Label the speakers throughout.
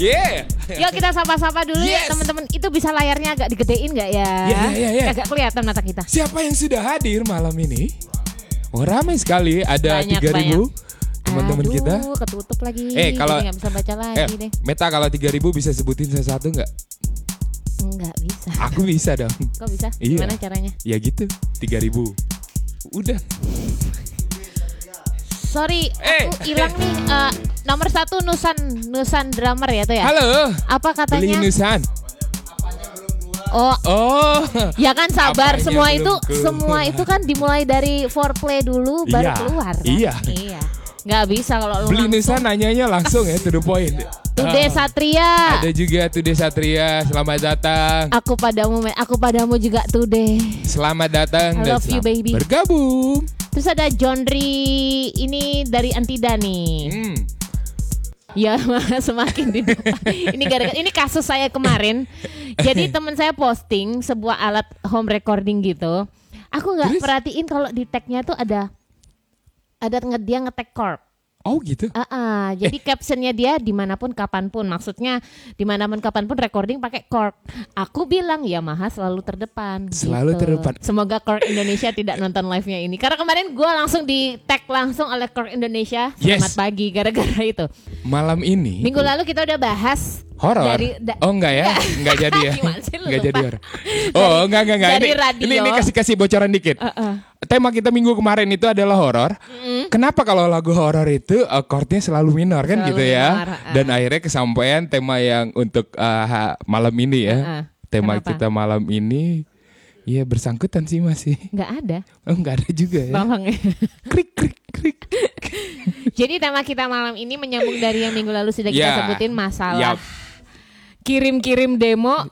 Speaker 1: Yeah.
Speaker 2: Yuk kita sapa-sapa dulu
Speaker 1: Yes.
Speaker 2: ya teman-teman. Itu bisa layarnya agak digedein nggak ya?
Speaker 1: Iya, iya, iya, iya.
Speaker 2: Agak kelihatan mata kita.
Speaker 1: Siapa yang sudah hadir malam ini? Oh, ramai sekali, ada
Speaker 2: Banyak,
Speaker 1: 3000 teman-teman
Speaker 2: Aduh,
Speaker 1: kita.
Speaker 2: ketutup lagi.
Speaker 1: Eh, kalau-
Speaker 2: Jadi nggak bisa baca lagi
Speaker 1: Eh,
Speaker 2: deh.
Speaker 1: Meta kalau 3000 bisa sebutin satu-satu nggak?
Speaker 2: Nggak bisa.
Speaker 1: Aku bisa dong.
Speaker 2: Kok bisa?
Speaker 1: Iya.
Speaker 2: Gimana caranya?
Speaker 1: Ya gitu, 3000. Udah.
Speaker 2: Sorry,
Speaker 1: Eh.
Speaker 2: aku hilang nih. eh, nomor satu Nusan Nusan drummer ya tuh ya.
Speaker 1: Halo.
Speaker 2: Apa
Speaker 1: Beli
Speaker 2: katanya?
Speaker 1: Nusan.
Speaker 2: Oh,
Speaker 1: Oh.
Speaker 2: ya kan sabar.
Speaker 1: Apanya
Speaker 2: semua
Speaker 1: belum
Speaker 2: itu
Speaker 1: keluar?
Speaker 2: semua itu kan dimulai dari foreplay dulu baru
Speaker 1: Iya,
Speaker 2: keluar. kan?
Speaker 1: iya.
Speaker 2: Iya. Nggak bisa kalau lu
Speaker 1: Beli
Speaker 2: langsung.
Speaker 1: Nusan nanyanya langsung ya to the point.
Speaker 2: Today
Speaker 1: Ah.
Speaker 2: Satria.
Speaker 1: Ada juga Tude Satria, selamat datang.
Speaker 2: Aku padamu, men. aku padamu juga today.
Speaker 1: Selamat datang
Speaker 2: I
Speaker 1: dan
Speaker 2: love you,
Speaker 1: selamat
Speaker 2: baby.
Speaker 1: bergabung.
Speaker 2: Terus ada Johnry ini dari Antida nih.
Speaker 1: Hmm.
Speaker 2: Ya semakin di depan. Ini gara-gara ini kasus saya kemarin. Jadi teman saya posting sebuah alat home recording gitu. Aku nggak
Speaker 1: Terus?
Speaker 2: perhatiin kalau di tag-nya tuh ada ada nge- dia ngetek corp.
Speaker 1: Oh gitu.
Speaker 2: Ah, ah. jadi captionnya dia dimanapun kapanpun, maksudnya dimanapun kapanpun recording pakai cork. Aku bilang Yamaha selalu terdepan. gitu.
Speaker 1: Selalu terdepan.
Speaker 2: Semoga cork Indonesia tidak nonton live-nya ini, karena kemarin gua langsung di tag langsung oleh cork Indonesia. Selamat
Speaker 1: Yes. Iya.
Speaker 2: pagi, gara-gara itu.
Speaker 1: Malam ini
Speaker 2: Minggu lalu kita udah bahas
Speaker 1: horor.
Speaker 2: dari da-
Speaker 1: Oh enggak ya? Enggak jadi ya.
Speaker 2: Gimana sih lu
Speaker 1: Enggak
Speaker 2: lupa?
Speaker 1: jadi horor. Oh, enggak enggak enggak.
Speaker 2: dari
Speaker 1: Ini-
Speaker 2: radio. Uh,
Speaker 1: Ini, ini kasih kasih bocoran dikit. Tema kita minggu kemarin itu adalah horor. Kenapa kalau lagu horor itu eh, chordnya selalu minor kan
Speaker 2: Selalu
Speaker 1: gitu ya?
Speaker 2: minor, ah.
Speaker 1: Dan akhirnya kesampaian tema yang untuk eh, ha- malam ini ya.
Speaker 2: Ah, ah.
Speaker 1: Tema
Speaker 2: Kenapa?
Speaker 1: kita malam ini ya bersangkutan sih masih.
Speaker 2: nggak ada.
Speaker 1: Oh, enggak ada juga ya.
Speaker 2: Tolong ya.
Speaker 1: Krik krik krik.
Speaker 2: Jadi tema kita malam ini menyambung dari yang minggu lalu sudah kita
Speaker 1: Ya.
Speaker 2: sebutin masalah
Speaker 1: Yap.
Speaker 2: kirim-kirim demo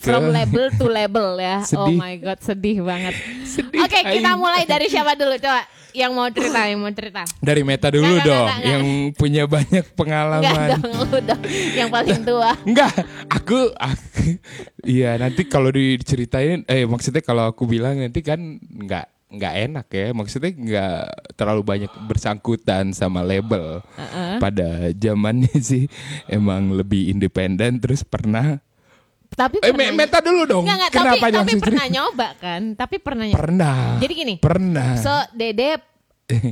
Speaker 2: from
Speaker 1: Ke-
Speaker 2: label to label ya. Oh
Speaker 1: Sedih.
Speaker 2: my god, sedih banget.
Speaker 1: Sedih,
Speaker 2: Oke, kita
Speaker 1: aing.
Speaker 2: mulai dari siapa dulu coba? Yang mau cerita, yang mau cerita.
Speaker 1: Dari Meta dulu
Speaker 2: Enggak, enggak,
Speaker 1: dong,
Speaker 2: enggak, enggak.
Speaker 1: yang punya banyak
Speaker 2: Enggak
Speaker 1: pengalaman.
Speaker 2: dong, lu dong. Yang paling tua.
Speaker 1: Enggak, aku, aku- iya nanti kalau di- diceritain, eh maksudnya kalau aku bilang nanti kan enggak nggak enak ya, maksudnya nggak terlalu banyak bersangkutan sama label. Pada zamannya sih emang lebih independen, terus pernah.
Speaker 2: Tapi
Speaker 1: Eh Me- Meta dulu dong,
Speaker 2: Enggak, enggak, tapi,
Speaker 1: kenapa
Speaker 2: tapi
Speaker 1: langsung
Speaker 2: pernah
Speaker 1: cerita?
Speaker 2: nyoba kan? Tapi pernah nyoba.
Speaker 1: Pernah.
Speaker 2: Jadi gini.
Speaker 1: Pernah.
Speaker 2: So, Dede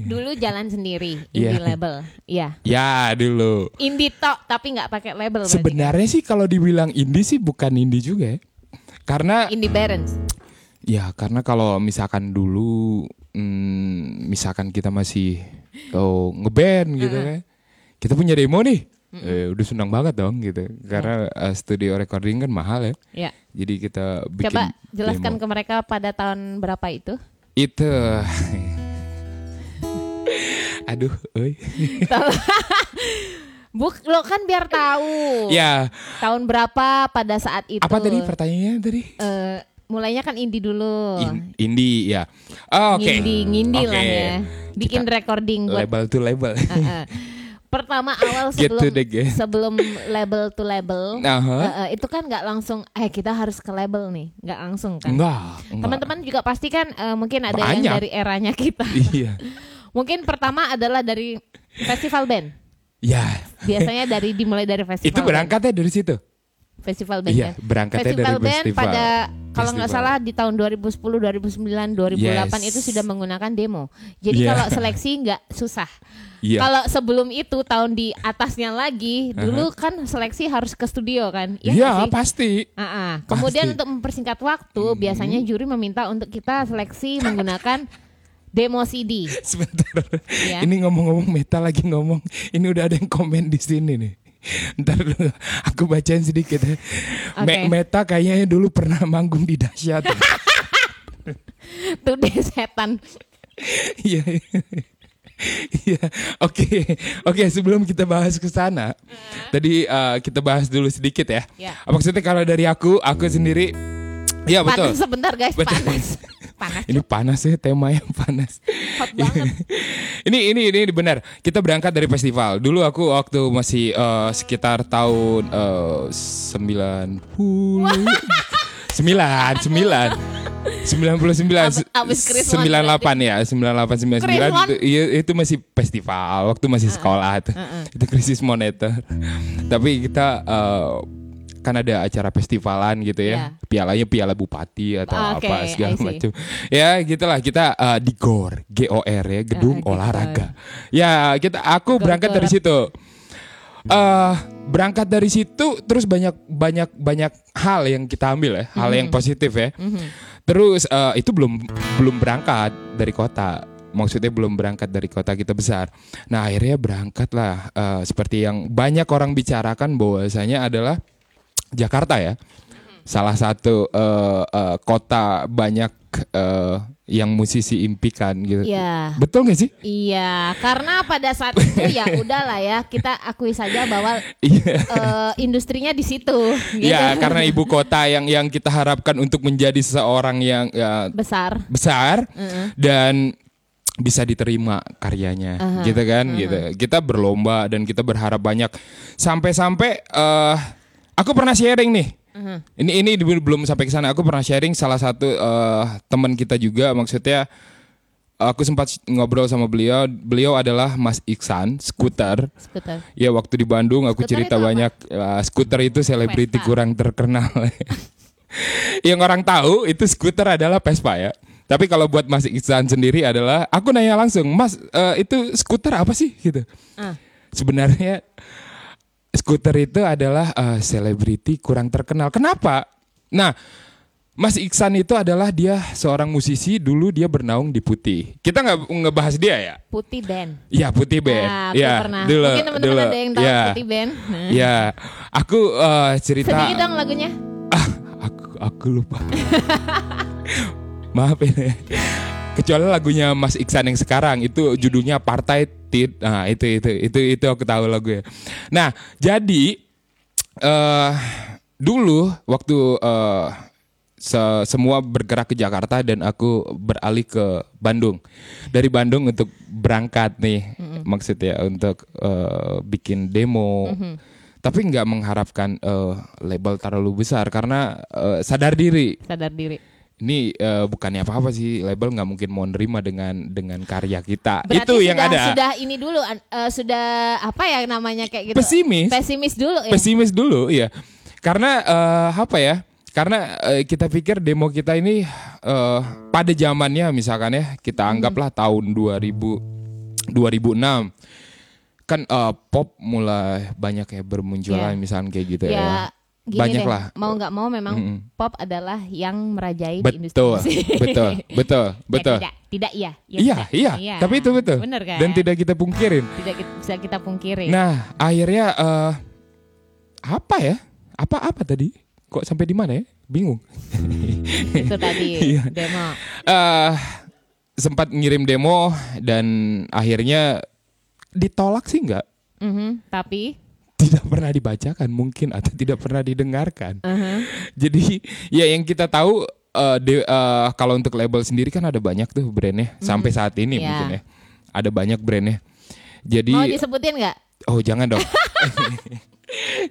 Speaker 2: dulu jalan sendiri indie
Speaker 1: Iya.
Speaker 2: label. Iya.
Speaker 1: ya dulu.
Speaker 2: Indie tok tapi nggak pakai label berarti.
Speaker 1: Sebenarnya sih kalau dibilang indie sih bukan indie juga ya. Karena
Speaker 2: Indie Barons.
Speaker 1: ya karena kalau misalkan dulu hmm, misalkan kita masih oh, ngeband gitu kan. Kita punya demo nih. Eh, udah senang banget dong gitu.
Speaker 2: Iya.
Speaker 1: Karena eh, studio recording kan mahal ya.
Speaker 2: Ya.
Speaker 1: Jadi kita bikin
Speaker 2: Coba jelaskan
Speaker 1: demo.
Speaker 2: ke mereka pada tahun berapa itu?
Speaker 1: Itu. Aduh, euy.
Speaker 2: Buk, lo kan biar tahu.
Speaker 1: Ya,
Speaker 2: Tahun berapa pada saat itu?
Speaker 1: apa tadi pertanyaannya tadi?
Speaker 2: Eh, mulainya kan indie dulu.
Speaker 1: In- indie ya. Oh, Oke.
Speaker 2: Ngindi, ngindi lah
Speaker 1: Oke.
Speaker 2: ya. Bikin recording buat
Speaker 1: Label to label.
Speaker 2: eh. Pertama awal
Speaker 1: Get
Speaker 2: sebelum
Speaker 1: to the game. Nah,
Speaker 2: sebelum label to label.
Speaker 1: Aha.
Speaker 2: eh, eh, itu kan nggak langsung eh kita harus ke label nih, nggak langsung kan.
Speaker 1: Enggak. enggak.
Speaker 2: Teman-teman juga pasti kan eh, mungkin ada
Speaker 1: Banyak.
Speaker 2: yang dari eranya kita.
Speaker 1: Iya.
Speaker 2: mungkin pertama adalah dari festival band.
Speaker 1: Ya.
Speaker 2: Biasanya dari dimulai dari festival.
Speaker 1: Itu berangkatnya dari situ.
Speaker 2: band. festival band.
Speaker 1: Iya,
Speaker 2: kan?
Speaker 1: berangkatnya
Speaker 2: festival
Speaker 1: dari
Speaker 2: band
Speaker 1: festival.
Speaker 2: pada kalau nggak
Speaker 1: Festival.
Speaker 2: salah di tahun 2010, 2009, 2008
Speaker 1: Yes.
Speaker 2: itu sudah menggunakan demo. Jadi
Speaker 1: Iya.
Speaker 2: kalau seleksi nggak susah.
Speaker 1: Iya.
Speaker 2: Kalau sebelum itu tahun di atasnya lagi, dulu kan seleksi harus ke studio kan? Iya nggak
Speaker 1: Iya,
Speaker 2: sih?
Speaker 1: pasti.
Speaker 2: Ah, ah.
Speaker 1: Pasti. Mm-hmm.
Speaker 2: Kemudian untuk mempersingkat waktu, biasanya juri meminta untuk kita seleksi menggunakan demo CD.
Speaker 1: Sebentar.
Speaker 2: Iya.
Speaker 1: Ini ngomong-ngomong Meta lagi ngomong. Ini udah ada yang komen di sini nih. Ntar dulu, aku bacain sedikit ya.
Speaker 2: Oke.
Speaker 1: Me- Meta kayaknya dulu pernah manggung di dahsyat.
Speaker 2: Tuh deh setan.
Speaker 1: Iya. Iya, oke, oke. Sebelum kita bahas ke sana, tadi eh, kita bahas dulu sedikit ya.
Speaker 2: Iya.
Speaker 1: Maksudnya kalau dari aku, aku sendiri, ya
Speaker 2: Panas
Speaker 1: betul.
Speaker 2: sebentar guys,
Speaker 1: Betul.
Speaker 2: panas. Panas.
Speaker 1: Ini panas ya tema yang panas.
Speaker 2: Hot banget.
Speaker 1: ini ini ini benar. Kita berangkat dari festival. Dulu aku waktu masih eh, sekitar tahun eh, sembilan puluh sembilan sembilan
Speaker 2: Abis-
Speaker 1: 99
Speaker 2: abis Christmas
Speaker 1: 98 ya 98
Speaker 2: Christmas. Ah,
Speaker 1: 99 itu, iya, itu masih festival waktu masih sekolah tuh. itu krisis moneter tapi kita eh, kan ada acara festivalan gitu ya pialanya piala bupati atau
Speaker 2: Iya. Oke,
Speaker 1: apa segala
Speaker 2: I see.
Speaker 1: macam ya gitulah kita eh, di GOR GOR ya gedung
Speaker 2: Ah, di
Speaker 1: olahraga ya kita aku
Speaker 2: Gor-
Speaker 1: berangkat dari
Speaker 2: gorap.
Speaker 1: situ eh berangkat dari situ terus banyak banyak banyak hal yang kita ambil ya hal yang positif ya terus eh, itu belum belum berangkat dari kota maksudnya belum berangkat dari kota kita besar nah akhirnya berangkatlah eh, seperti yang banyak orang bicarakan bahwasanya adalah Jakarta ya salah satu eh, eh, kota banyak eh, yang musisi impikan gitu
Speaker 2: Iya.
Speaker 1: betul gak sih
Speaker 2: Iya, karena pada saat itu ya udahlah ya kita akui saja bahwa
Speaker 1: iya
Speaker 2: eh, industrinya di situ. gitu.
Speaker 1: Ya, karena ibu kota yang yang kita harapkan untuk menjadi seseorang yang ya,
Speaker 2: besar.
Speaker 1: besar dan bisa diterima karyanya, gitu kan? Gitu. Kita berlomba dan kita berharap banyak sampai-sampai eh aku pernah sharing nih. Ini ini di- belum sampai ke sana. Aku pernah sharing salah satu eh, teman kita juga maksudnya aku sempat ngobrol sama beliau. Beliau adalah Mas Iksan, skuter.
Speaker 2: Skuter.
Speaker 1: Ya waktu di Bandung aku
Speaker 2: Skuter itu
Speaker 1: cerita
Speaker 2: apa?
Speaker 1: banyak eh, skuter itu selebriti
Speaker 2: Vespa.
Speaker 1: kurang terkenal. Yang orang tahu itu skuter adalah Vespa ya. Tapi kalau buat Mas Iksan sendiri adalah aku nanya langsung, "Mas, eh, itu skuter apa sih?" gitu.
Speaker 2: Ah.
Speaker 1: Sebenarnya skuter itu adalah eh, selebriti kurang terkenal. Kenapa? Nah, Mas Iksan itu adalah dia seorang musisi dulu dia bernaung di putih. Kita nggak ngebahas dia ya?
Speaker 2: Putih band.
Speaker 1: Ya putih band.
Speaker 2: Nah, aku
Speaker 1: ya
Speaker 2: pernah.
Speaker 1: dulu.
Speaker 2: Mungkin teman-teman
Speaker 1: dulu.
Speaker 2: ada yang tahu
Speaker 1: Ya.
Speaker 2: Putih band. Nah.
Speaker 1: Ya, aku eh, cerita.
Speaker 2: Sedikit dong lagunya.
Speaker 1: Ah, aku aku lupa. Maaf ya. Kecuali lagunya Mas Iksan yang sekarang itu judulnya Partai Tit. Nah, itu itu itu itu aku tahu lagunya. Nah, jadi eh dulu waktu eh, se- semua bergerak ke Jakarta dan aku beralih ke Bandung. Dari Bandung untuk berangkat nih maksudnya untuk eh, bikin demo. Tapi nggak mengharapkan eh, label terlalu besar karena eh, sadar diri
Speaker 2: Sadar diri.
Speaker 1: ini eh, bukannya apa-apa sih label nggak mungkin mau nerima dengan dengan karya kita.
Speaker 2: Berarti
Speaker 1: Itu yang
Speaker 2: sudah,
Speaker 1: ada.
Speaker 2: Sudah ini dulu an- eh, sudah apa ya namanya kayak gitu.
Speaker 1: Pesimis.
Speaker 2: Pesimis dulu ya.
Speaker 1: pesimis dulu ya karena eh, apa ya karena eh, kita pikir demo kita ini eh, pada zamannya misalkan ya kita
Speaker 2: Hmm.
Speaker 1: anggaplah tahun 2000 2006 kan eh, pop mulai banyak ya
Speaker 2: Ya.
Speaker 1: bermunculan misalnya kayak gitu
Speaker 2: ya.
Speaker 1: ya,
Speaker 2: Gini
Speaker 1: banyak
Speaker 2: deh,
Speaker 1: lah
Speaker 2: mau nggak mau memang pop adalah yang merajai di industri
Speaker 1: betul
Speaker 2: musik.
Speaker 1: betul betul
Speaker 2: Ya,
Speaker 1: betul
Speaker 2: tidak, tidak iya. Ya,
Speaker 1: iya
Speaker 2: tidak.
Speaker 1: iya tapi itu betul
Speaker 2: Bener kan?
Speaker 1: dan tidak kita pungkirin
Speaker 2: Tidak ki- bisa kita pungkiri.
Speaker 1: Nah, akhirnya eh apa ya? Apa-apa tadi? Kok sampai di mana ya? Bingung.
Speaker 2: itu tadi
Speaker 1: Iya.
Speaker 2: demo.
Speaker 1: eh sempat ngirim demo dan akhirnya ditolak sih enggak?
Speaker 2: Mhm, tapi
Speaker 1: Tidak pernah dibacakan mungkin atau tidak pernah didengarkan.
Speaker 2: uh-huh.
Speaker 1: Jadi ya yang kita tahu eh, de- eh, kalau untuk label sendiri kan ada banyak tuh brandnya sampai saat ini
Speaker 2: Iya.
Speaker 1: mungkin ya. Ada banyak brandnya. Jadi
Speaker 2: mau disebutin nggak?
Speaker 1: Oh jangan dong.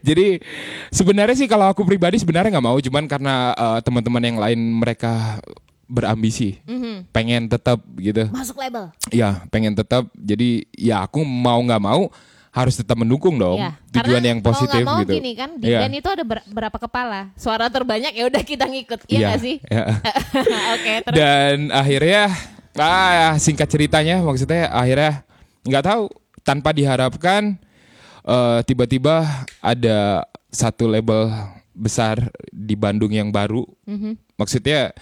Speaker 1: Jadi sebenarnya sih kalau aku pribadi sebenarnya nggak mau, cuman karena eh, teman-teman yang lain mereka berambisi,
Speaker 2: Mhm.
Speaker 1: pengen tetap gitu.
Speaker 2: Masuk label.
Speaker 1: Ya pengen tetap. Jadi ya aku mau nggak mau harus tetap mendukung dong.
Speaker 2: Ya,
Speaker 1: Tujuan
Speaker 2: karena
Speaker 1: yang positif
Speaker 2: mau nggak mau
Speaker 1: gitu.
Speaker 2: gini kan di
Speaker 1: Iya.
Speaker 2: band itu ada ber- berapa kepala suara terbanyak ya udah kita ngikut iya
Speaker 1: Iya,
Speaker 2: nggak sih
Speaker 1: iya.
Speaker 2: oke terus
Speaker 1: Dan akhirnya ah, singkat ceritanya maksudnya akhirnya nggak tahu tanpa diharapkan eh, tiba-tiba ada satu label besar di Bandung yang baru. Maksudnya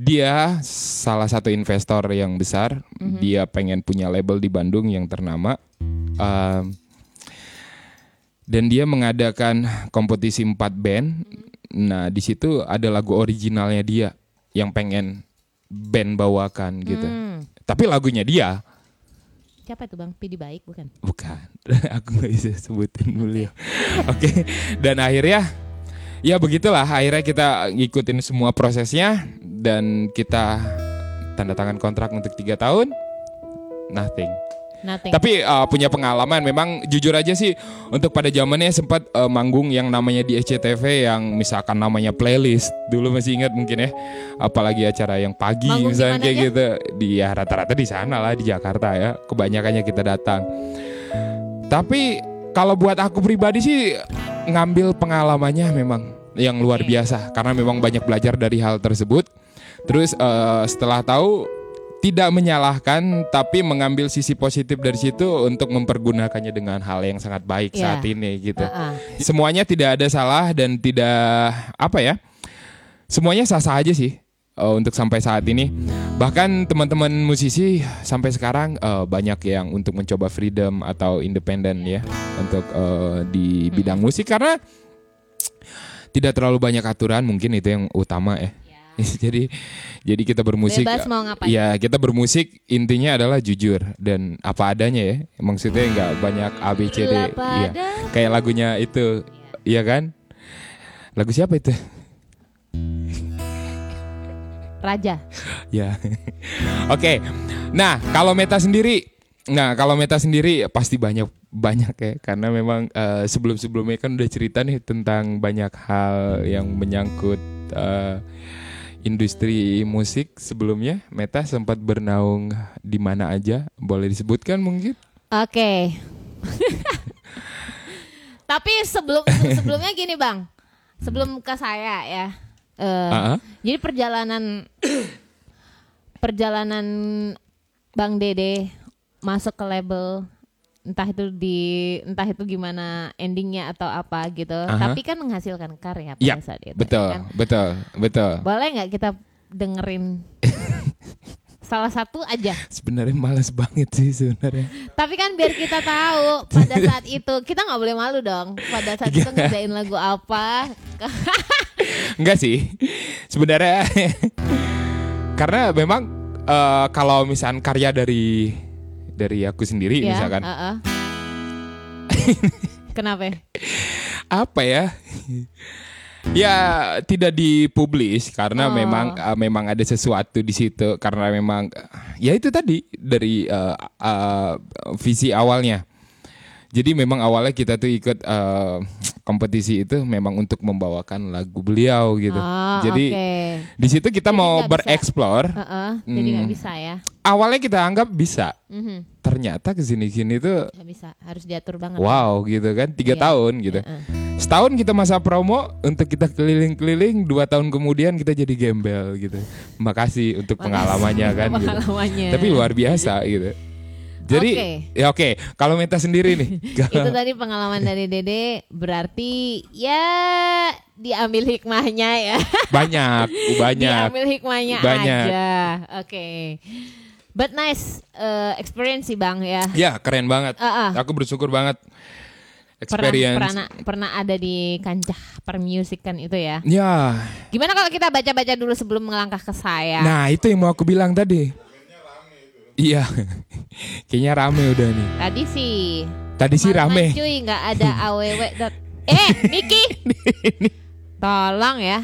Speaker 1: dia salah satu investor yang besar, dia pengen punya label di Bandung yang ternama. Um, dan dia mengadakan kompetisi empat band. Nah, di situ ada lagu originalnya dia yang pengen band bawakan gitu.
Speaker 2: Hmm.
Speaker 1: Tapi lagunya dia
Speaker 2: siapa itu bang Pidi baik bukan
Speaker 1: bukan. Aku nggak bisa sebutin beliau. Oke. Dan akhirnya ya begitulah. Akhirnya kita ngikutin semua prosesnya dan kita tanda tangan kontrak untuk tiga tahun. Nothing.
Speaker 2: Nothing.
Speaker 1: Tapi eh, punya pengalaman memang jujur aja sih untuk pada zamannya sempat eh, manggung yang namanya di SCTV yang misalkan namanya playlist. Dulu masih ingat mungkin ya. Apalagi acara yang pagi
Speaker 2: Manggung di
Speaker 1: misalnya
Speaker 2: mana
Speaker 1: kayak
Speaker 2: aja?
Speaker 1: gitu. Di ya rata-rata di sana lah di Jakarta ya. Kebanyakannya kita datang. Tapi kalau buat aku pribadi sih ngambil pengalamannya memang yang luar
Speaker 2: Oke.
Speaker 1: biasa karena memang banyak belajar dari hal tersebut. Terus eh, setelah tahu tidak menyalahkan tapi mengambil sisi positif dari situ untuk mempergunakannya dengan hal yang sangat baik
Speaker 2: Iya.
Speaker 1: saat ini gitu.
Speaker 2: Heeh.
Speaker 1: Semuanya tidak ada salah dan tidak apa ya? Semuanya sah-sah aja sih eh, untuk sampai saat ini. Bahkan teman-teman musisi sampai sekarang eh, banyak yang untuk mencoba freedom atau independen ya untuk eh, di bidang musik karena tidak terlalu banyak aturan mungkin itu yang utama ya. jadi jadi kita bermusik
Speaker 2: Bebas mau ngapain.
Speaker 1: Ya kita bermusik intinya adalah jujur dan apa adanya ya. Maksudnya nggak banyak ABCD.
Speaker 2: Jujur apa
Speaker 1: Iya.
Speaker 2: adanya.
Speaker 1: Kayak lagunya itu, iya kan? Lagu siapa itu?
Speaker 2: Raja.
Speaker 1: ya. Oke. Nah kalau Meta sendiri, nah kalau Meta sendiri pasti banyak banyak ya karena memang eh, sebelum-sebelumnya kan udah cerita nih tentang banyak hal yang menyangkut eh, industri musik sebelumnya Meta sempat bernaung di mana aja boleh disebutkan mungkin
Speaker 2: Oke. Tapi sebelum sebelumnya gini bang, sebelum ke saya ya. Eh,
Speaker 1: Ah, ah.
Speaker 2: Jadi perjalanan perjalanan Bang Dede masuk ke label entah itu di entah itu gimana endingnya atau apa gitu.
Speaker 1: Aha.
Speaker 2: Tapi kan menghasilkan karya pada
Speaker 1: Ya,
Speaker 2: saat itu.
Speaker 1: betul,
Speaker 2: ya kan?
Speaker 1: betul, betul.
Speaker 2: Boleh nggak kita dengerin salah satu aja?
Speaker 1: Sebenarnya malas banget sih sebenarnya.
Speaker 2: Tapi kan biar kita tahu pada saat itu kita nggak boleh malu dong. Pada saat itu
Speaker 1: Iya.
Speaker 2: ngerjain lagu apa?
Speaker 1: Enggak sih. Sebenarnya karena memang eh, kalau misalkan karya dari dari aku sendiri
Speaker 2: Ya,
Speaker 1: Iya, misalkan
Speaker 2: heeh. Kenapa? ya?
Speaker 1: apa ya? ya tidak dipublis karena
Speaker 2: Oh.
Speaker 1: memang eh, memang ada sesuatu di situ karena memang ya itu tadi dari eh, eh, visi awalnya. Jadi memang awalnya kita tuh ikut eh, kompetisi itu memang untuk membawakan lagu beliau gitu.
Speaker 2: Oh,
Speaker 1: Jadi
Speaker 2: oke.
Speaker 1: Di situ kita
Speaker 2: Jadi
Speaker 1: mau
Speaker 2: nggak bisa.
Speaker 1: bereksplor.
Speaker 2: Heeh, Jadi nggak
Speaker 1: hmm.
Speaker 2: bisa ya?
Speaker 1: Awalnya kita anggap bisa.
Speaker 2: Mhm,
Speaker 1: Ternyata kesini-sini tuh
Speaker 2: Nggak bisa, harus diatur banget.
Speaker 1: wow gitu kan. Tiga
Speaker 2: Iya.
Speaker 1: tahun gitu.
Speaker 2: Heeh.
Speaker 1: Setahun kita masa promo untuk kita keliling-keliling. Dua tahun kemudian kita jadi gembel gitu. Makasih untuk
Speaker 2: Makasih
Speaker 1: pengalamannya
Speaker 2: untuk
Speaker 1: kan. gitu.
Speaker 2: pengalamannya.
Speaker 1: Tapi luar biasa gitu. Jadi
Speaker 2: Oke.
Speaker 1: ya oke. Kalau minta sendiri nih.
Speaker 2: Itu tadi pengalaman dari Dede berarti ya diambil hikmahnya ya.
Speaker 1: banyak, banyak.
Speaker 2: Diambil hikmahnya
Speaker 1: Banyak.
Speaker 2: aja. Oke. But nice uh, experience sih Bang ya.
Speaker 1: Ya keren banget.
Speaker 2: Ah, ah.
Speaker 1: Aku bersyukur banget.
Speaker 2: Pernah,
Speaker 1: Experience.
Speaker 2: pernah pernah ada di kancah permusikan itu ya.
Speaker 1: Ya,
Speaker 2: Gimana kalau kita baca-baca dulu sebelum melangkah ke saya?
Speaker 1: Nah itu yang mau aku bilang tadi. Iya, kayaknya rame udah nih.
Speaker 2: Tadi sih
Speaker 1: Tadi sih
Speaker 2: Malam
Speaker 1: rame.
Speaker 2: cuy nggak ada aww dot- eh Niki tolong ya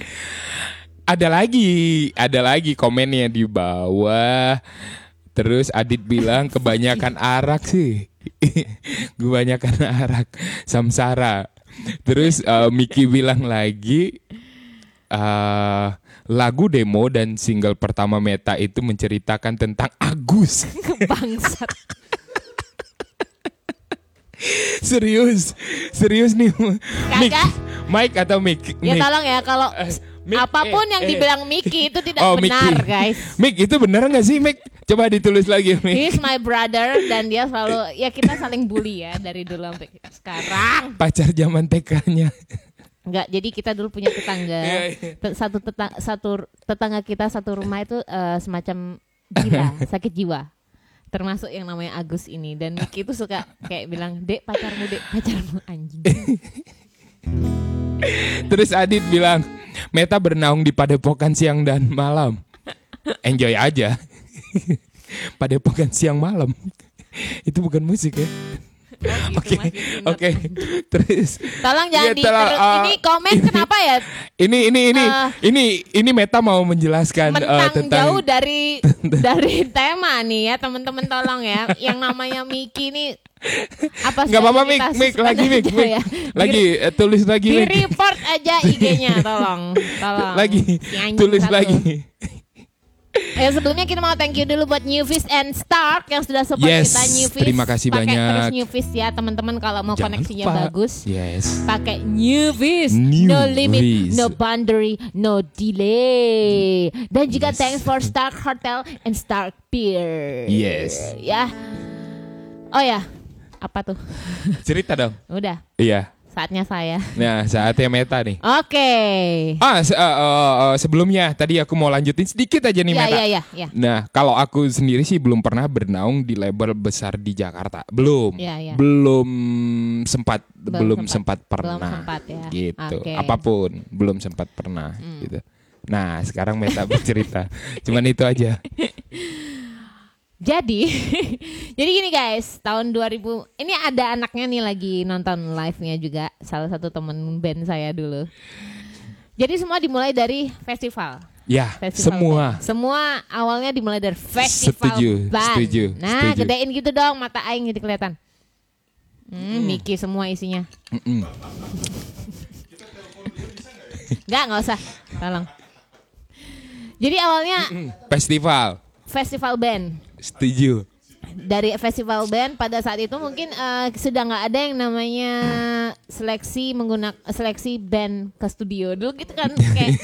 Speaker 1: Ada lagi, ada lagi komennya di bawah. Terus Adit bilang kebanyakan arak sih. kebanyakan arak samsara. Terus eh, Miki bilang lagi eh, lagu demo dan single pertama Meta itu menceritakan tentang Agus.
Speaker 2: bangsat
Speaker 1: Serius, serius nih. Mik,
Speaker 2: Kagak.
Speaker 1: Mike atau Mik?
Speaker 2: ya
Speaker 1: Mik.
Speaker 2: tolong ya kalau
Speaker 1: Eh, Mik,
Speaker 2: apapun
Speaker 1: eh,
Speaker 2: yang
Speaker 1: eh.
Speaker 2: dibilang Miki itu tidak
Speaker 1: Oh,
Speaker 2: benar
Speaker 1: Miki.
Speaker 2: guys Iya.
Speaker 1: Mik itu bener nggak sih Mik? Coba ditulis lagi Mik.
Speaker 2: He's my brother dan dia selalu ya kita saling bully ya dari dulu sampai sekarang.
Speaker 1: Pacar zaman TK-nya.
Speaker 2: Enggak, jadi kita dulu punya tetangga.
Speaker 1: Iya, iya.
Speaker 2: Te- Satu tetangga, satu r- tetangga kita satu rumah itu eh, semacam gila, sakit jiwa. Termasuk yang namanya Agus ini dan Miki itu suka kayak bilang, "Dek, pacarmu, Dek, pacarmu anjing."
Speaker 1: Terus Adit bilang, Meta bernaung di padepokan siang dan malam. Enjoy aja. padepokan siang malam. itu bukan musik ya.
Speaker 2: gitu,
Speaker 1: Oke,
Speaker 2: Mas Yusinur.
Speaker 1: oke. Terus
Speaker 2: Tolong jangan
Speaker 1: Iya,
Speaker 2: di
Speaker 1: tolong,
Speaker 2: terus-
Speaker 1: eh,
Speaker 2: ini komen
Speaker 1: ini-
Speaker 2: kenapa ya
Speaker 1: ini ini ini
Speaker 2: Eh,
Speaker 1: ini ini Meta mau menjelaskan eh,
Speaker 2: mentang
Speaker 1: tentang
Speaker 2: jauh dari dari tema nih ya teman-teman tolong ya yang namanya Miki nih apa
Speaker 1: nggak apa-apa
Speaker 2: sudah
Speaker 1: Mik,
Speaker 2: kita
Speaker 1: Mik
Speaker 2: suspend
Speaker 1: lagi Mik,
Speaker 2: aja
Speaker 1: Mik.
Speaker 2: ya?
Speaker 1: Lagi eh, tulis lagi
Speaker 2: di
Speaker 1: Mik.
Speaker 2: report aja IG-nya tolong tolong
Speaker 1: Lagi
Speaker 2: Si anjing
Speaker 1: tulis
Speaker 2: satu. Oh,
Speaker 1: lagi.
Speaker 2: Eh, sebelumnya kita mau thank you dulu buat Newfish and Stark yang sudah support
Speaker 1: Yes,
Speaker 2: kita Newfish.
Speaker 1: terima kasih
Speaker 2: Pakai
Speaker 1: banyak.
Speaker 2: terus Newfish ya teman-teman kalau mau
Speaker 1: Jangan
Speaker 2: koneksinya
Speaker 1: lupa.
Speaker 2: bagus.
Speaker 1: Yes.
Speaker 2: Pakai Newfish,
Speaker 1: New
Speaker 2: no limit,
Speaker 1: Viz.
Speaker 2: no boundary, no delay. Dan juga thanks for Stark Hotel and Stark Pier.
Speaker 1: Yes.
Speaker 2: Ya. Oh ya, apa tuh?
Speaker 1: Cerita dong.
Speaker 2: Udah,
Speaker 1: Iya.
Speaker 2: saatnya saya.
Speaker 1: Nah, saatnya Meta nih.
Speaker 2: Oke.
Speaker 1: Ah, se- eh, eh, eh, sebelumnya tadi aku mau lanjutin sedikit aja nih
Speaker 2: Ya,
Speaker 1: Meta.
Speaker 2: ya, ya, ya.
Speaker 1: Nah, kalau aku sendiri sih belum pernah bernaung di label besar di Jakarta. Belum.
Speaker 2: Ya, ya.
Speaker 1: Belum sempat belum,
Speaker 2: Belum
Speaker 1: sempat.
Speaker 2: sempat.
Speaker 1: pernah.
Speaker 2: Belum sempat ya.
Speaker 1: Gitu.
Speaker 2: Oke. Hmm.
Speaker 1: Apapun belum sempat pernah gitu. Nah, sekarang Meta bercerita. Cuman itu aja.
Speaker 2: Jadi, jadi gini guys, tahun 2000 ini ada anaknya nih lagi nonton live-nya juga, salah satu temen band saya dulu. Jadi semua dimulai dari festival.
Speaker 1: Ya,
Speaker 2: Festival
Speaker 1: semua.
Speaker 2: band. Semua awalnya dimulai dari festival
Speaker 1: Setuju,
Speaker 2: band.
Speaker 1: setuju,
Speaker 2: Nah,
Speaker 1: setuju.
Speaker 2: gedein gitu dong mata aing jadi kelihatan. Hmm, Miki semua isinya.
Speaker 1: Mm-mm.
Speaker 2: Enggak, enggak usah. Tolong. Jadi awalnya
Speaker 1: Festival.
Speaker 2: festival band.
Speaker 1: Setuju.
Speaker 2: dari festival band pada saat itu mungkin eh, sudah nggak ada yang namanya seleksi menggunakan seleksi band ke studio dulu gitu kan kayak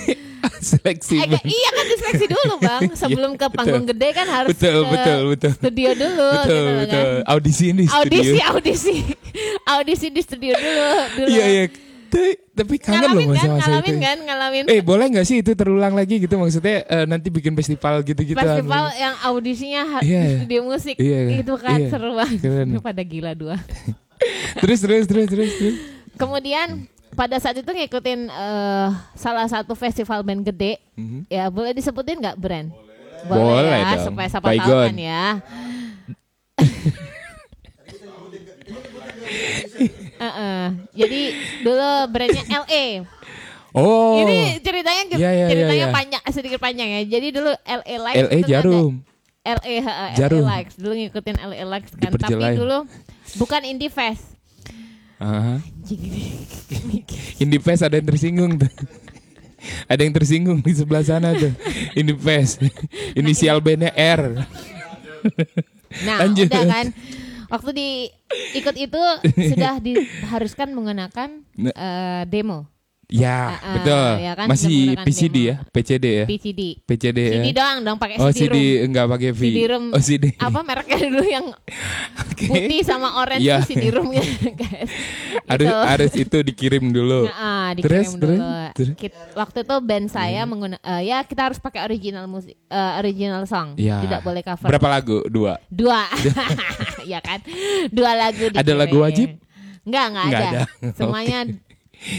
Speaker 1: Seleksi.
Speaker 2: eh, kayak-
Speaker 1: band.
Speaker 2: iya kan diseleksi dulu bang sebelum ke panggung
Speaker 1: Iya, betul.
Speaker 2: gede kan harus
Speaker 1: Betul,
Speaker 2: ke
Speaker 1: betul, betul.
Speaker 2: studio dulu
Speaker 1: betul,
Speaker 2: gitu kan.
Speaker 1: betul. Audisi ini
Speaker 2: audisi
Speaker 1: studio.
Speaker 2: audisi audisi di studio dulu dulu
Speaker 1: Iya, iya. Tapi- Tapi kangen loh
Speaker 2: ngalamin kan
Speaker 1: masa-masa itu.
Speaker 2: ngalamin kan ngalamin
Speaker 1: Eh boleh nggak sih itu terulang lagi gitu maksudnya eh, nanti bikin festival gitu-gitu.
Speaker 2: festival yang audisinya ha-
Speaker 1: kan. Iya,
Speaker 2: di
Speaker 1: iya.
Speaker 2: studio musik
Speaker 1: Iya, kan?
Speaker 2: itu kan
Speaker 1: Iya.
Speaker 2: seru banget
Speaker 1: Keren.
Speaker 2: pada gila dua
Speaker 1: Terus terus terus terus. terus.
Speaker 2: Kemudian pada saat itu ngikutin eh, salah satu festival band gede, ya boleh disebutin nggak brand? Boleh,
Speaker 1: Mhm. Boleh
Speaker 2: ya,
Speaker 1: dong.
Speaker 2: supaya siapa tahu
Speaker 1: Baygon.
Speaker 2: kan ya. Eh-eh. Jadi dulu brandnya LA.
Speaker 1: Oh.
Speaker 2: Ini ceritanya
Speaker 1: Iya, iya, iya,
Speaker 2: ceritanya
Speaker 1: iya.
Speaker 2: panjang sedikit panjang ya. Jadi dulu LA Lights
Speaker 1: LA
Speaker 2: itu kan ada-
Speaker 1: Jarum.
Speaker 2: LA, heeh,
Speaker 1: Jarum.
Speaker 2: LA Lights dulu ngikutin LA Lights kan,
Speaker 1: Diperjelai.
Speaker 2: tapi dulu bukan Indie Fest.
Speaker 1: Aha.
Speaker 2: Anjing ini.
Speaker 1: Indie Fest ada yang tersinggung tuh. ada yang tersinggung di sebelah sana tuh. Indie Fest. Inisial bandnya R.
Speaker 2: Nah,
Speaker 1: Lanjut.
Speaker 2: udah kan. Waktu di ikut itu sudah diharuskan menggunakan
Speaker 1: Nah.
Speaker 2: eh, demo Ah,
Speaker 1: Ya,
Speaker 2: ah,
Speaker 1: betul.
Speaker 2: ya kan, kita
Speaker 1: Masih
Speaker 2: menggunakan
Speaker 1: PCD
Speaker 2: demo.
Speaker 1: ya, PCD ya.
Speaker 2: PCD.
Speaker 1: PCD ya.
Speaker 2: CD doang dong pakai
Speaker 1: Oh
Speaker 2: CD,
Speaker 1: CD
Speaker 2: room.
Speaker 1: enggak pakai V.
Speaker 2: CD room.
Speaker 1: Oh CD.
Speaker 2: Apa mereknya dulu yang
Speaker 1: Oke.
Speaker 2: putih sama orange
Speaker 1: Iya.
Speaker 2: itu CD roomnya ya, guys.
Speaker 1: Harus
Speaker 2: Gitu.
Speaker 1: harus itu dikirim
Speaker 2: Nah,
Speaker 1: dulu.
Speaker 2: ah,
Speaker 1: Terus,
Speaker 2: dikirim dulu.
Speaker 1: terus, terus. Hmm.
Speaker 2: Kit- waktu itu band saya menggunakan ya kita harus pakai original musik eh, original song.
Speaker 1: Ya.
Speaker 2: Tidak boleh cover.
Speaker 1: Berapa lagu? Dua.
Speaker 2: Dua. ya kan? Dua lagu
Speaker 1: Ada
Speaker 2: dikirim.
Speaker 1: lagu wajib?
Speaker 2: Enggak, enggak ada.
Speaker 1: Nggak ada.
Speaker 2: Semuanya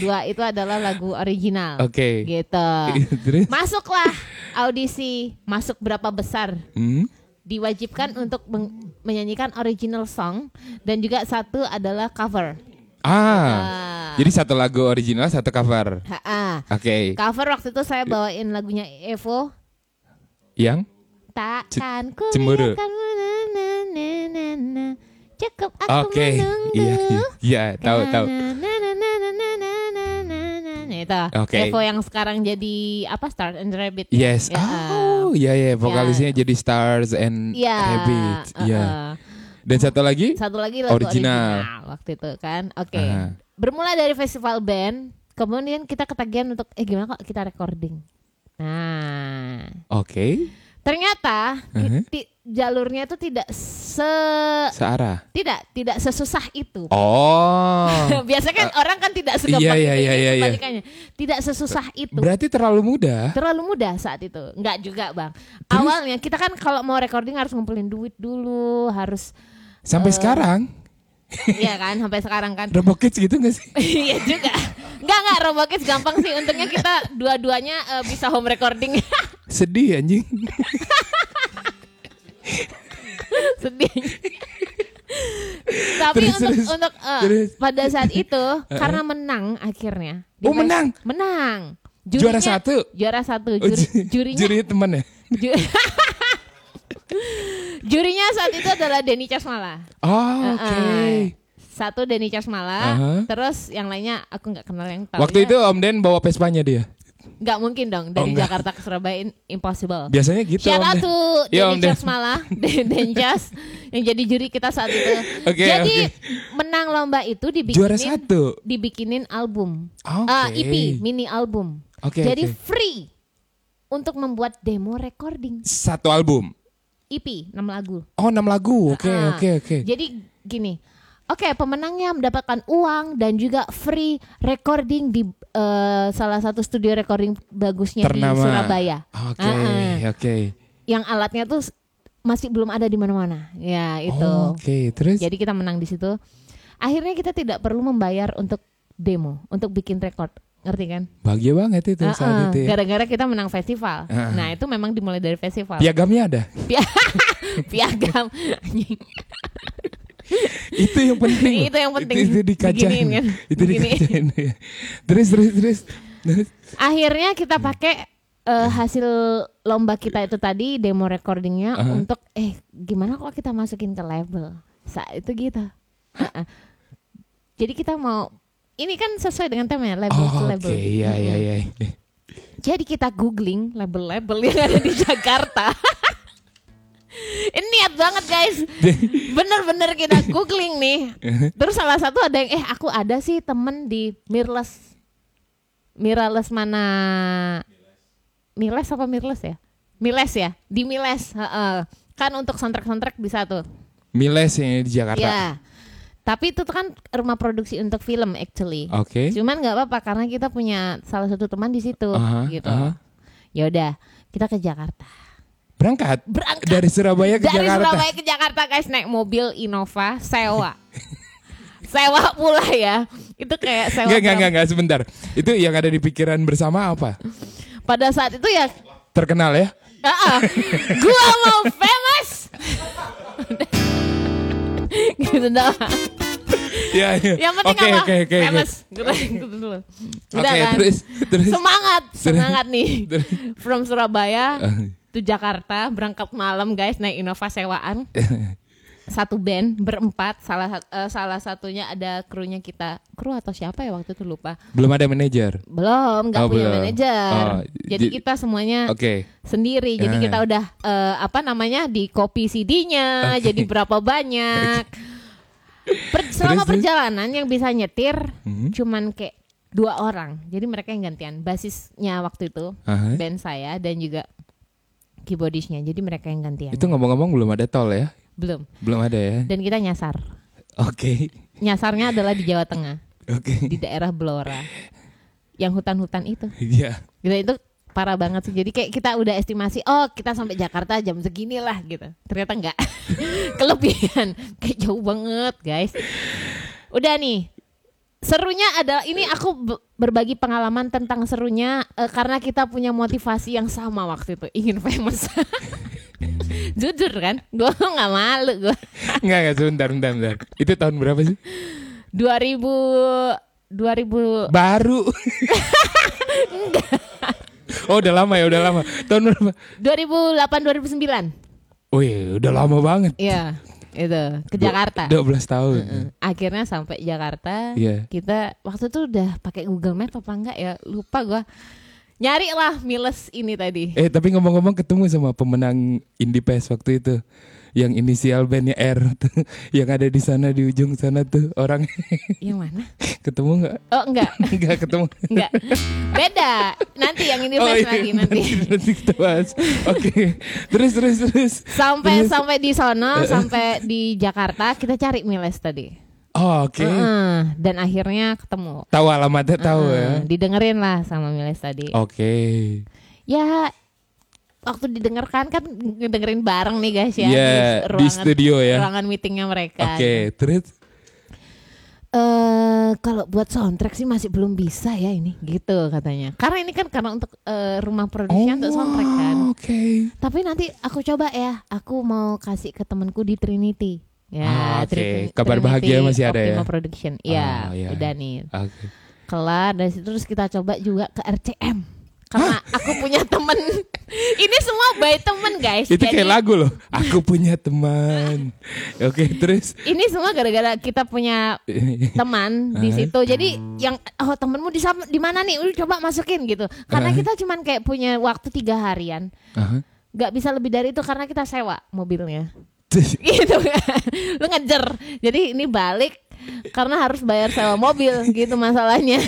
Speaker 2: dua itu adalah lagu original.
Speaker 1: Oke.
Speaker 2: Gitu.
Speaker 1: Terus?
Speaker 2: Masuklah audisi, masuk berapa besar?
Speaker 1: Hmm?
Speaker 2: Diwajibkan untuk meng- menyanyikan original song dan juga satu adalah cover.
Speaker 1: Ah. Jadi satu lagu original, satu cover.
Speaker 2: Ha, ah.
Speaker 1: Oke.
Speaker 2: Cover waktu itu saya bawain lagunya Evo
Speaker 1: Yang
Speaker 2: Takkan ku
Speaker 1: cemburu.
Speaker 2: biarkan na, na, na, na, na. Cukup aku
Speaker 1: Oke.
Speaker 2: menunggu Kan?
Speaker 1: Iya, iya. Iya, tahu tahu.
Speaker 2: Itu
Speaker 1: Oke.
Speaker 2: Evo yang sekarang jadi apa Star and Rabbit. ya?
Speaker 1: Yes.
Speaker 2: Ya,
Speaker 1: Oh, iya ya, vokalisnya jadi Stars and
Speaker 2: Iya.
Speaker 1: Rabbits.
Speaker 2: uh-uh.
Speaker 1: Iya. Dan satu lagi?
Speaker 2: Satu lagi lagu
Speaker 1: Original.
Speaker 2: original. waktu itu kan. Oke.
Speaker 1: Aha.
Speaker 2: Bermula dari festival band, kemudian kita ketagihan untuk eh gimana kok kita recording. Nah,
Speaker 1: Oke.
Speaker 2: ternyata di-
Speaker 1: Aha.
Speaker 2: di- jalurnya itu tidak se
Speaker 1: Searah.
Speaker 2: tidak tidak sesusah itu.
Speaker 1: Oh.
Speaker 2: Biasanya kan orang kan tidak segampang
Speaker 1: iya, iya,
Speaker 2: itu,
Speaker 1: iya,
Speaker 2: ini
Speaker 1: iya, iya.
Speaker 2: kebalikannya. Tidak sesusah itu.
Speaker 1: Berarti terlalu mudah.
Speaker 2: Terlalu mudah saat itu. Enggak juga, Bang. Awalnya kita kan kalau mau recording harus ngumpulin duit dulu, harus Eh.
Speaker 1: Sampai sekarang.
Speaker 2: iya kan sampai sekarang kan.
Speaker 1: Robo Kids gitu gak sih?
Speaker 2: Iya juga. Enggak enggak Robokids gampang sih. Untungnya kita dua-duanya eh, bisa home recording.
Speaker 1: Sedih anjing.
Speaker 2: Sedih. Tapi
Speaker 1: Terus,
Speaker 2: untuk
Speaker 1: terus.
Speaker 2: untuk eh,
Speaker 1: Terus.
Speaker 2: pada saat itu karena menang akhirnya.
Speaker 1: Oh,
Speaker 2: Dia-
Speaker 1: menang?
Speaker 2: Menang.
Speaker 1: Juara
Speaker 2: Jurinya-
Speaker 1: satu?
Speaker 2: Juara satu.
Speaker 1: Oh,
Speaker 2: Juri,
Speaker 1: ju-
Speaker 2: jurinya
Speaker 1: jurinya temen ya?
Speaker 2: ju- jurinya saat itu adalah Denny Casmala. ah.
Speaker 1: Oh, oke.
Speaker 2: Heeh. Satu Denny Casmala,
Speaker 1: Aha.
Speaker 2: terus yang lainnya aku nggak kenal yang tahu.
Speaker 1: Waktu itu Om Den bawa Vespanya dia.
Speaker 2: nggak mungkin dong dari
Speaker 1: nggak.
Speaker 2: Jakarta ke Surabaya in- impossible.
Speaker 1: Biasanya gitu
Speaker 2: Shout
Speaker 1: Om
Speaker 2: out
Speaker 1: Den.
Speaker 2: to
Speaker 1: Iya,
Speaker 2: Denny
Speaker 1: Om Den.
Speaker 2: Casmala, Den- Den Cas yang jadi juri kita saat itu.
Speaker 1: Oke,
Speaker 2: jadi
Speaker 1: oke.
Speaker 2: menang lomba itu dibikinin
Speaker 1: Juara satu.
Speaker 2: dibikinin album.
Speaker 1: Oke.
Speaker 2: Ah, EP, mini album.
Speaker 1: Oke,
Speaker 2: jadi
Speaker 1: oke.
Speaker 2: free untuk membuat demo recording
Speaker 1: Satu album.
Speaker 2: EP 6 lagu.
Speaker 1: Oh, 6 lagu. Oke,
Speaker 2: Ah,
Speaker 1: oke, oke.
Speaker 2: Jadi gini. Oke, pemenangnya mendapatkan uang dan juga free recording di eh, salah satu studio recording bagusnya di
Speaker 1: Ternama.
Speaker 2: Surabaya.
Speaker 1: Oke,
Speaker 2: Ah, ah.
Speaker 1: oke.
Speaker 2: Yang alatnya tuh s- masih belum ada di mana-mana. Ya, itu.
Speaker 1: Oh, Oke, terus
Speaker 2: Jadi kita menang di situ. Akhirnya kita tidak perlu membayar untuk demo, untuk bikin record. Ngerti kan?
Speaker 1: bahagia banget itu
Speaker 2: Ah,
Speaker 1: saat
Speaker 2: ah,
Speaker 1: itu. Ya.
Speaker 2: Gara-gara kita menang festival.
Speaker 1: Ah. Ya.
Speaker 2: Nah, itu memang dimulai dari festival.
Speaker 1: Piagamnya ada.
Speaker 2: Piagam. Anjing.
Speaker 1: itu yang penting.
Speaker 2: Itu yang penting.
Speaker 1: Itu, itu dikajain.
Speaker 2: Diginiin kan.
Speaker 1: Itu
Speaker 2: Diginiin.
Speaker 1: dikajain. ya. terus, terus, terus. Terus.
Speaker 2: akhirnya kita
Speaker 1: Hmm.
Speaker 2: pakai eh, hasil lomba kita itu tadi demo recordingnya
Speaker 1: Aha.
Speaker 2: untuk eh gimana kalau kita masukin ke label saat itu gitu Ha-ha. jadi kita mau ini kan sesuai dengan tema ya label to
Speaker 1: Oh,
Speaker 2: label
Speaker 1: oke, iya, iya,
Speaker 2: Mm-mm.
Speaker 1: iya.
Speaker 2: jadi kita googling label-label yang ada di Jakarta ini niat banget guys bener-bener kita googling nih terus salah satu ada yang eh aku ada sih temen di Mirles Mirales mana Miles apa Mirles ya? Miles ya, di Miles. heeh. Kan untuk soundtrack-soundtrack bisa tuh.
Speaker 1: Miles yang di Jakarta.
Speaker 2: Ya. Tapi itu tuh kan rumah produksi untuk film actually.
Speaker 1: Oke.
Speaker 2: Cuman nggak apa-apa karena kita punya salah satu teman di situ
Speaker 1: Aha,
Speaker 2: gitu.
Speaker 1: aha.
Speaker 2: Ya udah, kita ke Jakarta.
Speaker 1: Berangkat.
Speaker 2: Berangkat.
Speaker 1: Dari Surabaya ke
Speaker 2: Dari
Speaker 1: Jakarta.
Speaker 2: Surabaya ke Jakarta guys naik mobil Innova sewa. sewa pula ya. Itu kayak sewa.
Speaker 1: Enggak, enggak,
Speaker 2: berapa-
Speaker 1: enggak, enggak, sebentar. Itu yang ada di pikiran bersama apa?
Speaker 2: Pada saat itu ya
Speaker 1: Terkenal ya?
Speaker 2: Ah, ah. gua mau famous. gitu doang.
Speaker 1: Iya, iya.
Speaker 2: Yang penting
Speaker 1: Oke,
Speaker 2: apa?
Speaker 1: oke, oke, oke.
Speaker 2: famous. Gitu dulu. Udah
Speaker 1: Oke,
Speaker 2: kan?
Speaker 1: terus terus.
Speaker 2: Semangat, semangat nih.
Speaker 1: terus.
Speaker 2: From Surabaya
Speaker 1: Ah.
Speaker 2: to Jakarta, berangkat malam guys naik Innova sewaan. Satu band berempat, salah sat- eh, salah satunya ada krunya kita, kru atau siapa ya waktu itu lupa.
Speaker 1: Belum ada manajer.
Speaker 2: Belum, nggak
Speaker 1: Oh,
Speaker 2: punya
Speaker 1: belum.
Speaker 2: manajer.
Speaker 1: Oh,
Speaker 2: jadi
Speaker 1: j-
Speaker 2: kita semuanya
Speaker 1: Oke.
Speaker 2: sendiri. Jadi
Speaker 1: Ah.
Speaker 2: kita udah eh, apa namanya di copy CD-nya,
Speaker 1: Oke.
Speaker 2: jadi berapa banyak. Per- selama
Speaker 1: Terus, Hmm. terus?
Speaker 2: perjalanan yang bisa nyetir cuman kayak dua orang. Jadi mereka yang gantian. Basisnya waktu itu
Speaker 1: Aha.
Speaker 2: band saya dan juga keyboardisnya. Jadi mereka yang gantian.
Speaker 1: Itu ngomong-ngomong belum ada tol ya?
Speaker 2: Belum.
Speaker 1: Belum ada ya?
Speaker 2: Dan kita nyasar.
Speaker 1: Oke.
Speaker 2: Nyasarnya adalah di Jawa Tengah,
Speaker 1: Oke.
Speaker 2: di daerah Blora. Yang hutan-hutan itu.
Speaker 1: Iya.
Speaker 2: Gila Gitu, itu parah banget sih. Jadi kayak kita udah estimasi, oh kita sampai Jakarta jam segini lah gitu. Ternyata enggak. Kelebihan. Kayak jauh banget, guys. Udah nih. Serunya adalah ini aku be- berbagi pengalaman tentang serunya eh, karena kita punya motivasi yang sama waktu itu ingin famous. Jujur kan, gue nggak malu gue.
Speaker 1: Enggak, enggak sebentar, bentar, bentar. Itu tahun berapa sih?
Speaker 2: 2000 2000
Speaker 1: Baru. Oh, udah lama ya, udah lama. Tahun berapa?
Speaker 2: 2008 2009.
Speaker 1: Wih, udah lama banget.
Speaker 2: Iya, itu ke
Speaker 1: Du-
Speaker 2: Jakarta.
Speaker 1: 12 tahun.
Speaker 2: Heeh. akhirnya sampai Jakarta
Speaker 1: Iya.
Speaker 2: kita waktu itu udah pakai Google Map apa enggak ya lupa gua nyari lah Miles ini tadi
Speaker 1: Eh, tapi ngomong-ngomong ketemu sama pemenang Indie Pes waktu itu. Yang inisial bandnya R tuh. Yang ada di sana di ujung sana tuh orang
Speaker 2: yang mana
Speaker 1: ketemu nggak?
Speaker 2: oh enggak
Speaker 1: Nggak ketemu.
Speaker 2: enggak beda nanti yang ini
Speaker 1: Oh,
Speaker 2: Miles
Speaker 1: iya,
Speaker 2: lagi nanti
Speaker 1: nanti kita bahas. Oke. Terus terus terus.
Speaker 2: sampai
Speaker 1: Terus. Eh,
Speaker 2: sampai di sono sampai di Jakarta kita cari Miles tadi
Speaker 1: Oh, oke.
Speaker 2: Heeh, dan akhirnya ketemu
Speaker 1: Tahu alamatnya tahu ya. Oh.
Speaker 2: Heeh, didengerin lah sama Miles tadi
Speaker 1: Oke.
Speaker 2: ya waktu didengarkan kan ngedengerin bareng nih guys ya
Speaker 1: Iya, di studio ya.
Speaker 2: ruangan meetingnya mereka gitu.
Speaker 1: Oke, terus
Speaker 2: eh kalau buat soundtrack sih masih belum bisa ya ini gitu katanya karena ini kan karena untuk eh, rumah produksinya untuk soundtrack kan
Speaker 1: Oh, Oke.
Speaker 2: tapi nanti aku coba ya aku mau kasih ke temanku di Trinity Ya,
Speaker 1: Ah, oke.
Speaker 2: Tri-
Speaker 1: Kabar
Speaker 2: Trinity
Speaker 1: bahagia masih ada ya?
Speaker 2: Optima Production.
Speaker 1: Ah,
Speaker 2: Iya,
Speaker 1: iya.
Speaker 2: udah nih.
Speaker 1: Oke.
Speaker 2: kelar dari situ terus kita coba juga ke RCM karena aku punya temen ini semua by temen guys
Speaker 1: Itu
Speaker 2: Jadi,
Speaker 1: kayak lagu loh. Aku punya teman. Oke, terus
Speaker 2: ini semua gara-gara kita punya teman di situ jadi yang oh temenmu di sam- di mana nih udah coba masukin gitu karena
Speaker 1: Aha.
Speaker 2: kita cuman kayak punya waktu tiga harian
Speaker 1: Aha.
Speaker 2: nggak bisa lebih dari itu karena kita sewa mobilnya gitu kan lu ngejer jadi ini balik karena harus bayar sewa mobil gitu masalahnya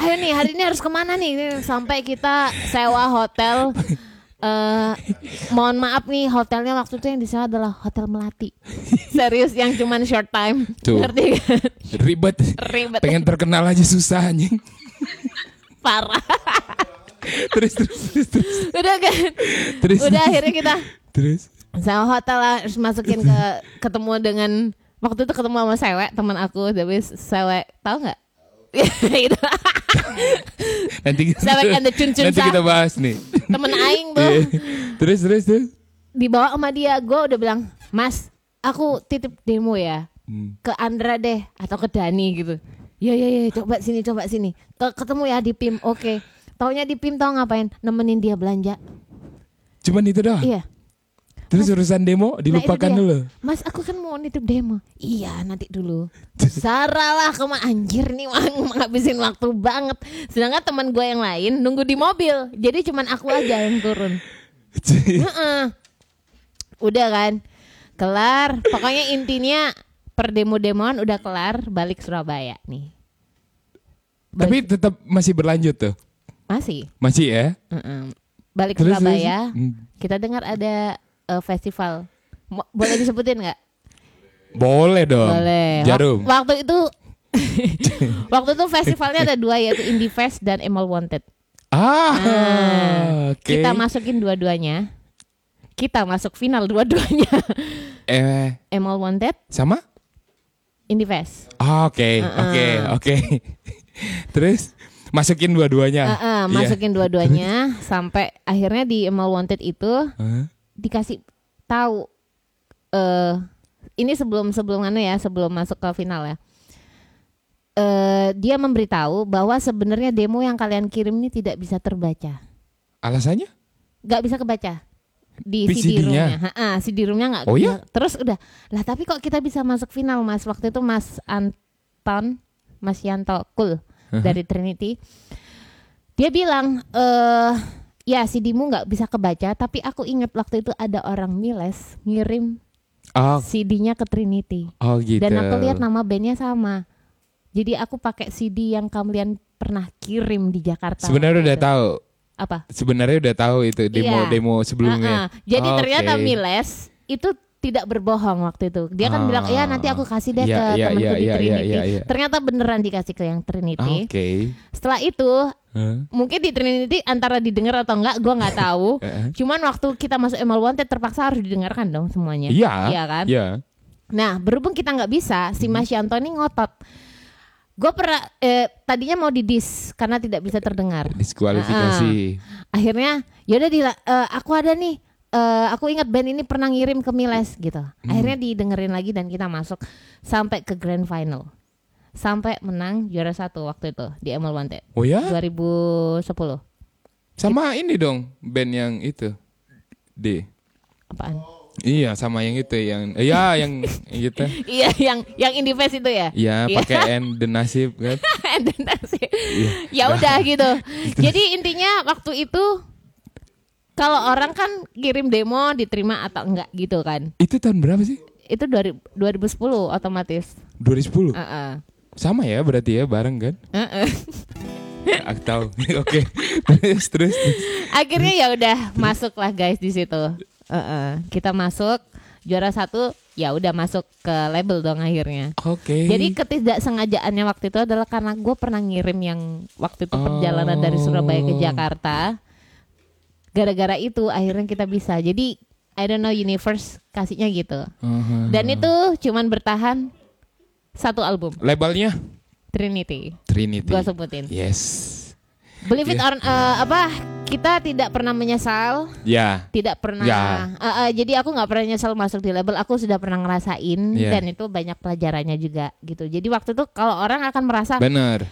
Speaker 2: ayo nih hari ini harus kemana nih Ini sampai kita sewa hotel eh mohon maaf nih hotelnya waktu itu yang disewa adalah hotel melati serius yang cuman short time
Speaker 1: Tuh.
Speaker 2: ngerti kan?
Speaker 1: ribet.
Speaker 2: ribet
Speaker 1: Pengen terkenal aja susah anjing.
Speaker 2: parah
Speaker 1: Terus terus terus terus.
Speaker 2: udah kan
Speaker 1: Terus.
Speaker 2: udah akhirnya kita
Speaker 1: Terus.
Speaker 2: sama hotel lah terus masukin ke ketemu dengan waktu itu ketemu sama cewek teman aku tapi cewek tahu nggak Gitu. itu
Speaker 1: Nanti kita,
Speaker 2: Selek and the Oh. Chun-Chun
Speaker 1: nanti
Speaker 2: Sa.
Speaker 1: kita bahas nih.
Speaker 2: temen aing
Speaker 1: Iya.
Speaker 2: tuh
Speaker 1: terus terus terus.
Speaker 2: dibawa sama dia gue udah bilang mas aku titip demo ya
Speaker 1: Hmm.
Speaker 2: ke Andra deh atau ke Dani gitu ya ya ya coba sini coba sini Ke- ketemu ya di Pim oke taunya di Pim tau ngapain nemenin dia belanja
Speaker 1: Cuman itu doang.
Speaker 2: iya
Speaker 1: Terus urusan demo
Speaker 2: Nah, itu
Speaker 1: dilupakan
Speaker 2: dia.
Speaker 1: dulu.
Speaker 2: Mas aku kan mau nitip demo. Iya nanti dulu. Saralah kema anjir nih mang menghabisin waktu banget. Sedangkan teman gue yang lain nunggu di mobil. Jadi cuman aku aja yang turun. Heeh. Udah kan, kelar. Pokoknya intinya per demo-demoan udah kelar. Balik Surabaya nih.
Speaker 1: Tapi tetap masih berlanjut tuh.
Speaker 2: Masih.
Speaker 1: Masih ya.
Speaker 2: Heeh. Balik
Speaker 1: Terus,
Speaker 2: Surabaya.
Speaker 1: terus. Hmm.
Speaker 2: Kita dengar ada eh, festival. Mo- Boleh disebutin nggak?
Speaker 1: Boleh dong.
Speaker 2: Boleh. Wak-
Speaker 1: Jarum.
Speaker 2: Waktu itu waktu itu festivalnya ada dua yaitu Indie Fest dan Emil Wanted.
Speaker 1: Ah.
Speaker 2: Nah,
Speaker 1: Oke.
Speaker 2: Kita masukin dua-duanya. Kita masuk final dua-duanya.
Speaker 1: Eh
Speaker 2: Emil Wanted,
Speaker 1: sama?
Speaker 2: Indie Fest.
Speaker 1: Ah, Oke, oke, oke. Terus masukin dua-duanya.
Speaker 2: Eh, eh,
Speaker 1: Iya.
Speaker 2: masukin dua-duanya sampai akhirnya di Emil Wanted itu
Speaker 1: Hah?
Speaker 2: dikasih tahu eh ini sebelum sebelum anu ya, sebelum masuk ke final ya. Eh dia memberitahu bahwa sebenarnya demo yang kalian kirim ini tidak bisa terbaca.
Speaker 1: Alasannya?
Speaker 2: nggak bisa kebaca di
Speaker 1: Di
Speaker 2: CD
Speaker 1: CD-nya?
Speaker 2: roomnya, Ha-ha, CD roomnya nggak.
Speaker 1: Oh iya?
Speaker 2: Terus udah lah tapi kok kita bisa masuk final mas waktu itu Mas Anton, Mas Yanto Kul dari Trinity, dia bilang eh ya CD-mu nggak bisa kebaca tapi aku ingat waktu itu ada orang Miles ngirim
Speaker 1: Oh,
Speaker 2: CD-nya ke Trinity
Speaker 1: oh gitu.
Speaker 2: dan aku lihat nama bandnya sama, jadi aku pakai CD yang kalian pernah kirim di Jakarta.
Speaker 1: Sebenarnya
Speaker 2: waktu
Speaker 1: udah
Speaker 2: itu.
Speaker 1: tahu.
Speaker 2: apa?
Speaker 1: Sebenarnya udah tahu itu
Speaker 2: gitu. Iya.
Speaker 1: demo-demo
Speaker 2: Ah, ah.
Speaker 1: sebelumnya.
Speaker 2: Jadi
Speaker 1: Oke.
Speaker 2: ternyata Miles itu tidak berbohong waktu itu. Dia kan
Speaker 1: Ah.
Speaker 2: bilang, "Ya, nanti aku kasih deh
Speaker 1: Iya,
Speaker 2: ke
Speaker 1: iya,
Speaker 2: temanku
Speaker 1: iya,
Speaker 2: di
Speaker 1: iya, iya,
Speaker 2: Trinity."
Speaker 1: iya, iya.
Speaker 2: Ternyata beneran dikasih ke yang
Speaker 1: Ah,
Speaker 2: Trinity.
Speaker 1: Oke.
Speaker 2: Setelah itu,
Speaker 1: Hah?
Speaker 2: mungkin di Trinity antara didengar atau enggak, gua nggak tahu.
Speaker 1: Eh, eh.
Speaker 2: Cuman waktu kita masuk ML Wanted terpaksa harus didengarkan dong semuanya.
Speaker 1: Iya.
Speaker 2: Iya kan?
Speaker 1: Iya. Hmm.
Speaker 2: Nah, berhubung kita nggak bisa, si Mas Yanto ini ngotot. Gue pernah eh, tadinya mau didis karena tidak bisa terdengar.
Speaker 1: Eh, Diskualifikasi.
Speaker 2: Ah, akhirnya yaudah di aku ada nih eh, aku ingat band ini pernah ngirim ke Miles gitu
Speaker 1: Hmm.
Speaker 2: akhirnya didengerin lagi dan kita masuk sampai ke grand final sampai menang juara satu waktu itu di ML Wanted
Speaker 1: Oh ya?
Speaker 2: 2010
Speaker 1: Sama ini dong band yang itu. D.
Speaker 2: apaan
Speaker 1: Iya, sama yang itu yang iya yang gitu.
Speaker 2: iya yang yang indie fest itu ya
Speaker 1: Iya, pakai Iya. N the nasib kan.
Speaker 2: And then that's it. ya udah
Speaker 1: Nah.
Speaker 2: gitu jadi intinya waktu itu kalau orang kan kirim demo diterima atau enggak gitu kan
Speaker 1: Itu tahun berapa sih?
Speaker 2: itu 2000 2010 otomatis
Speaker 1: 2010.
Speaker 2: Heeh.
Speaker 1: Sama ya berarti ya bareng kan?
Speaker 2: Heeh.
Speaker 1: Aku tahu. Oke. terus terus. terus.
Speaker 2: akhirnya ya udah masuklah guys di situ Heeh, kita masuk juara satu ya udah masuk ke label dong akhirnya
Speaker 1: Oke.
Speaker 2: jadi ketidaksengajaannya waktu itu adalah karena gue pernah ngirim yang waktu itu perjalanan dari Surabaya ke
Speaker 1: Oh.
Speaker 2: Jakarta gara-gara itu akhirnya kita bisa jadi I don't know universe kasihnya gitu
Speaker 1: Aha.
Speaker 2: dan itu cuman bertahan satu album
Speaker 1: labelnya
Speaker 2: Trinity
Speaker 1: Trinity.
Speaker 2: gue sebutin
Speaker 1: Yes.
Speaker 2: Believe it or uh, apa kita tidak pernah menyesal
Speaker 1: Ya.
Speaker 2: tidak pernah
Speaker 1: Ya.
Speaker 2: Eh, eh, jadi aku nggak pernah nyesel masuk di label aku sudah pernah ngerasain
Speaker 1: Iya.
Speaker 2: dan itu banyak pelajarannya juga gitu jadi waktu itu kalau orang akan merasa
Speaker 1: Bener.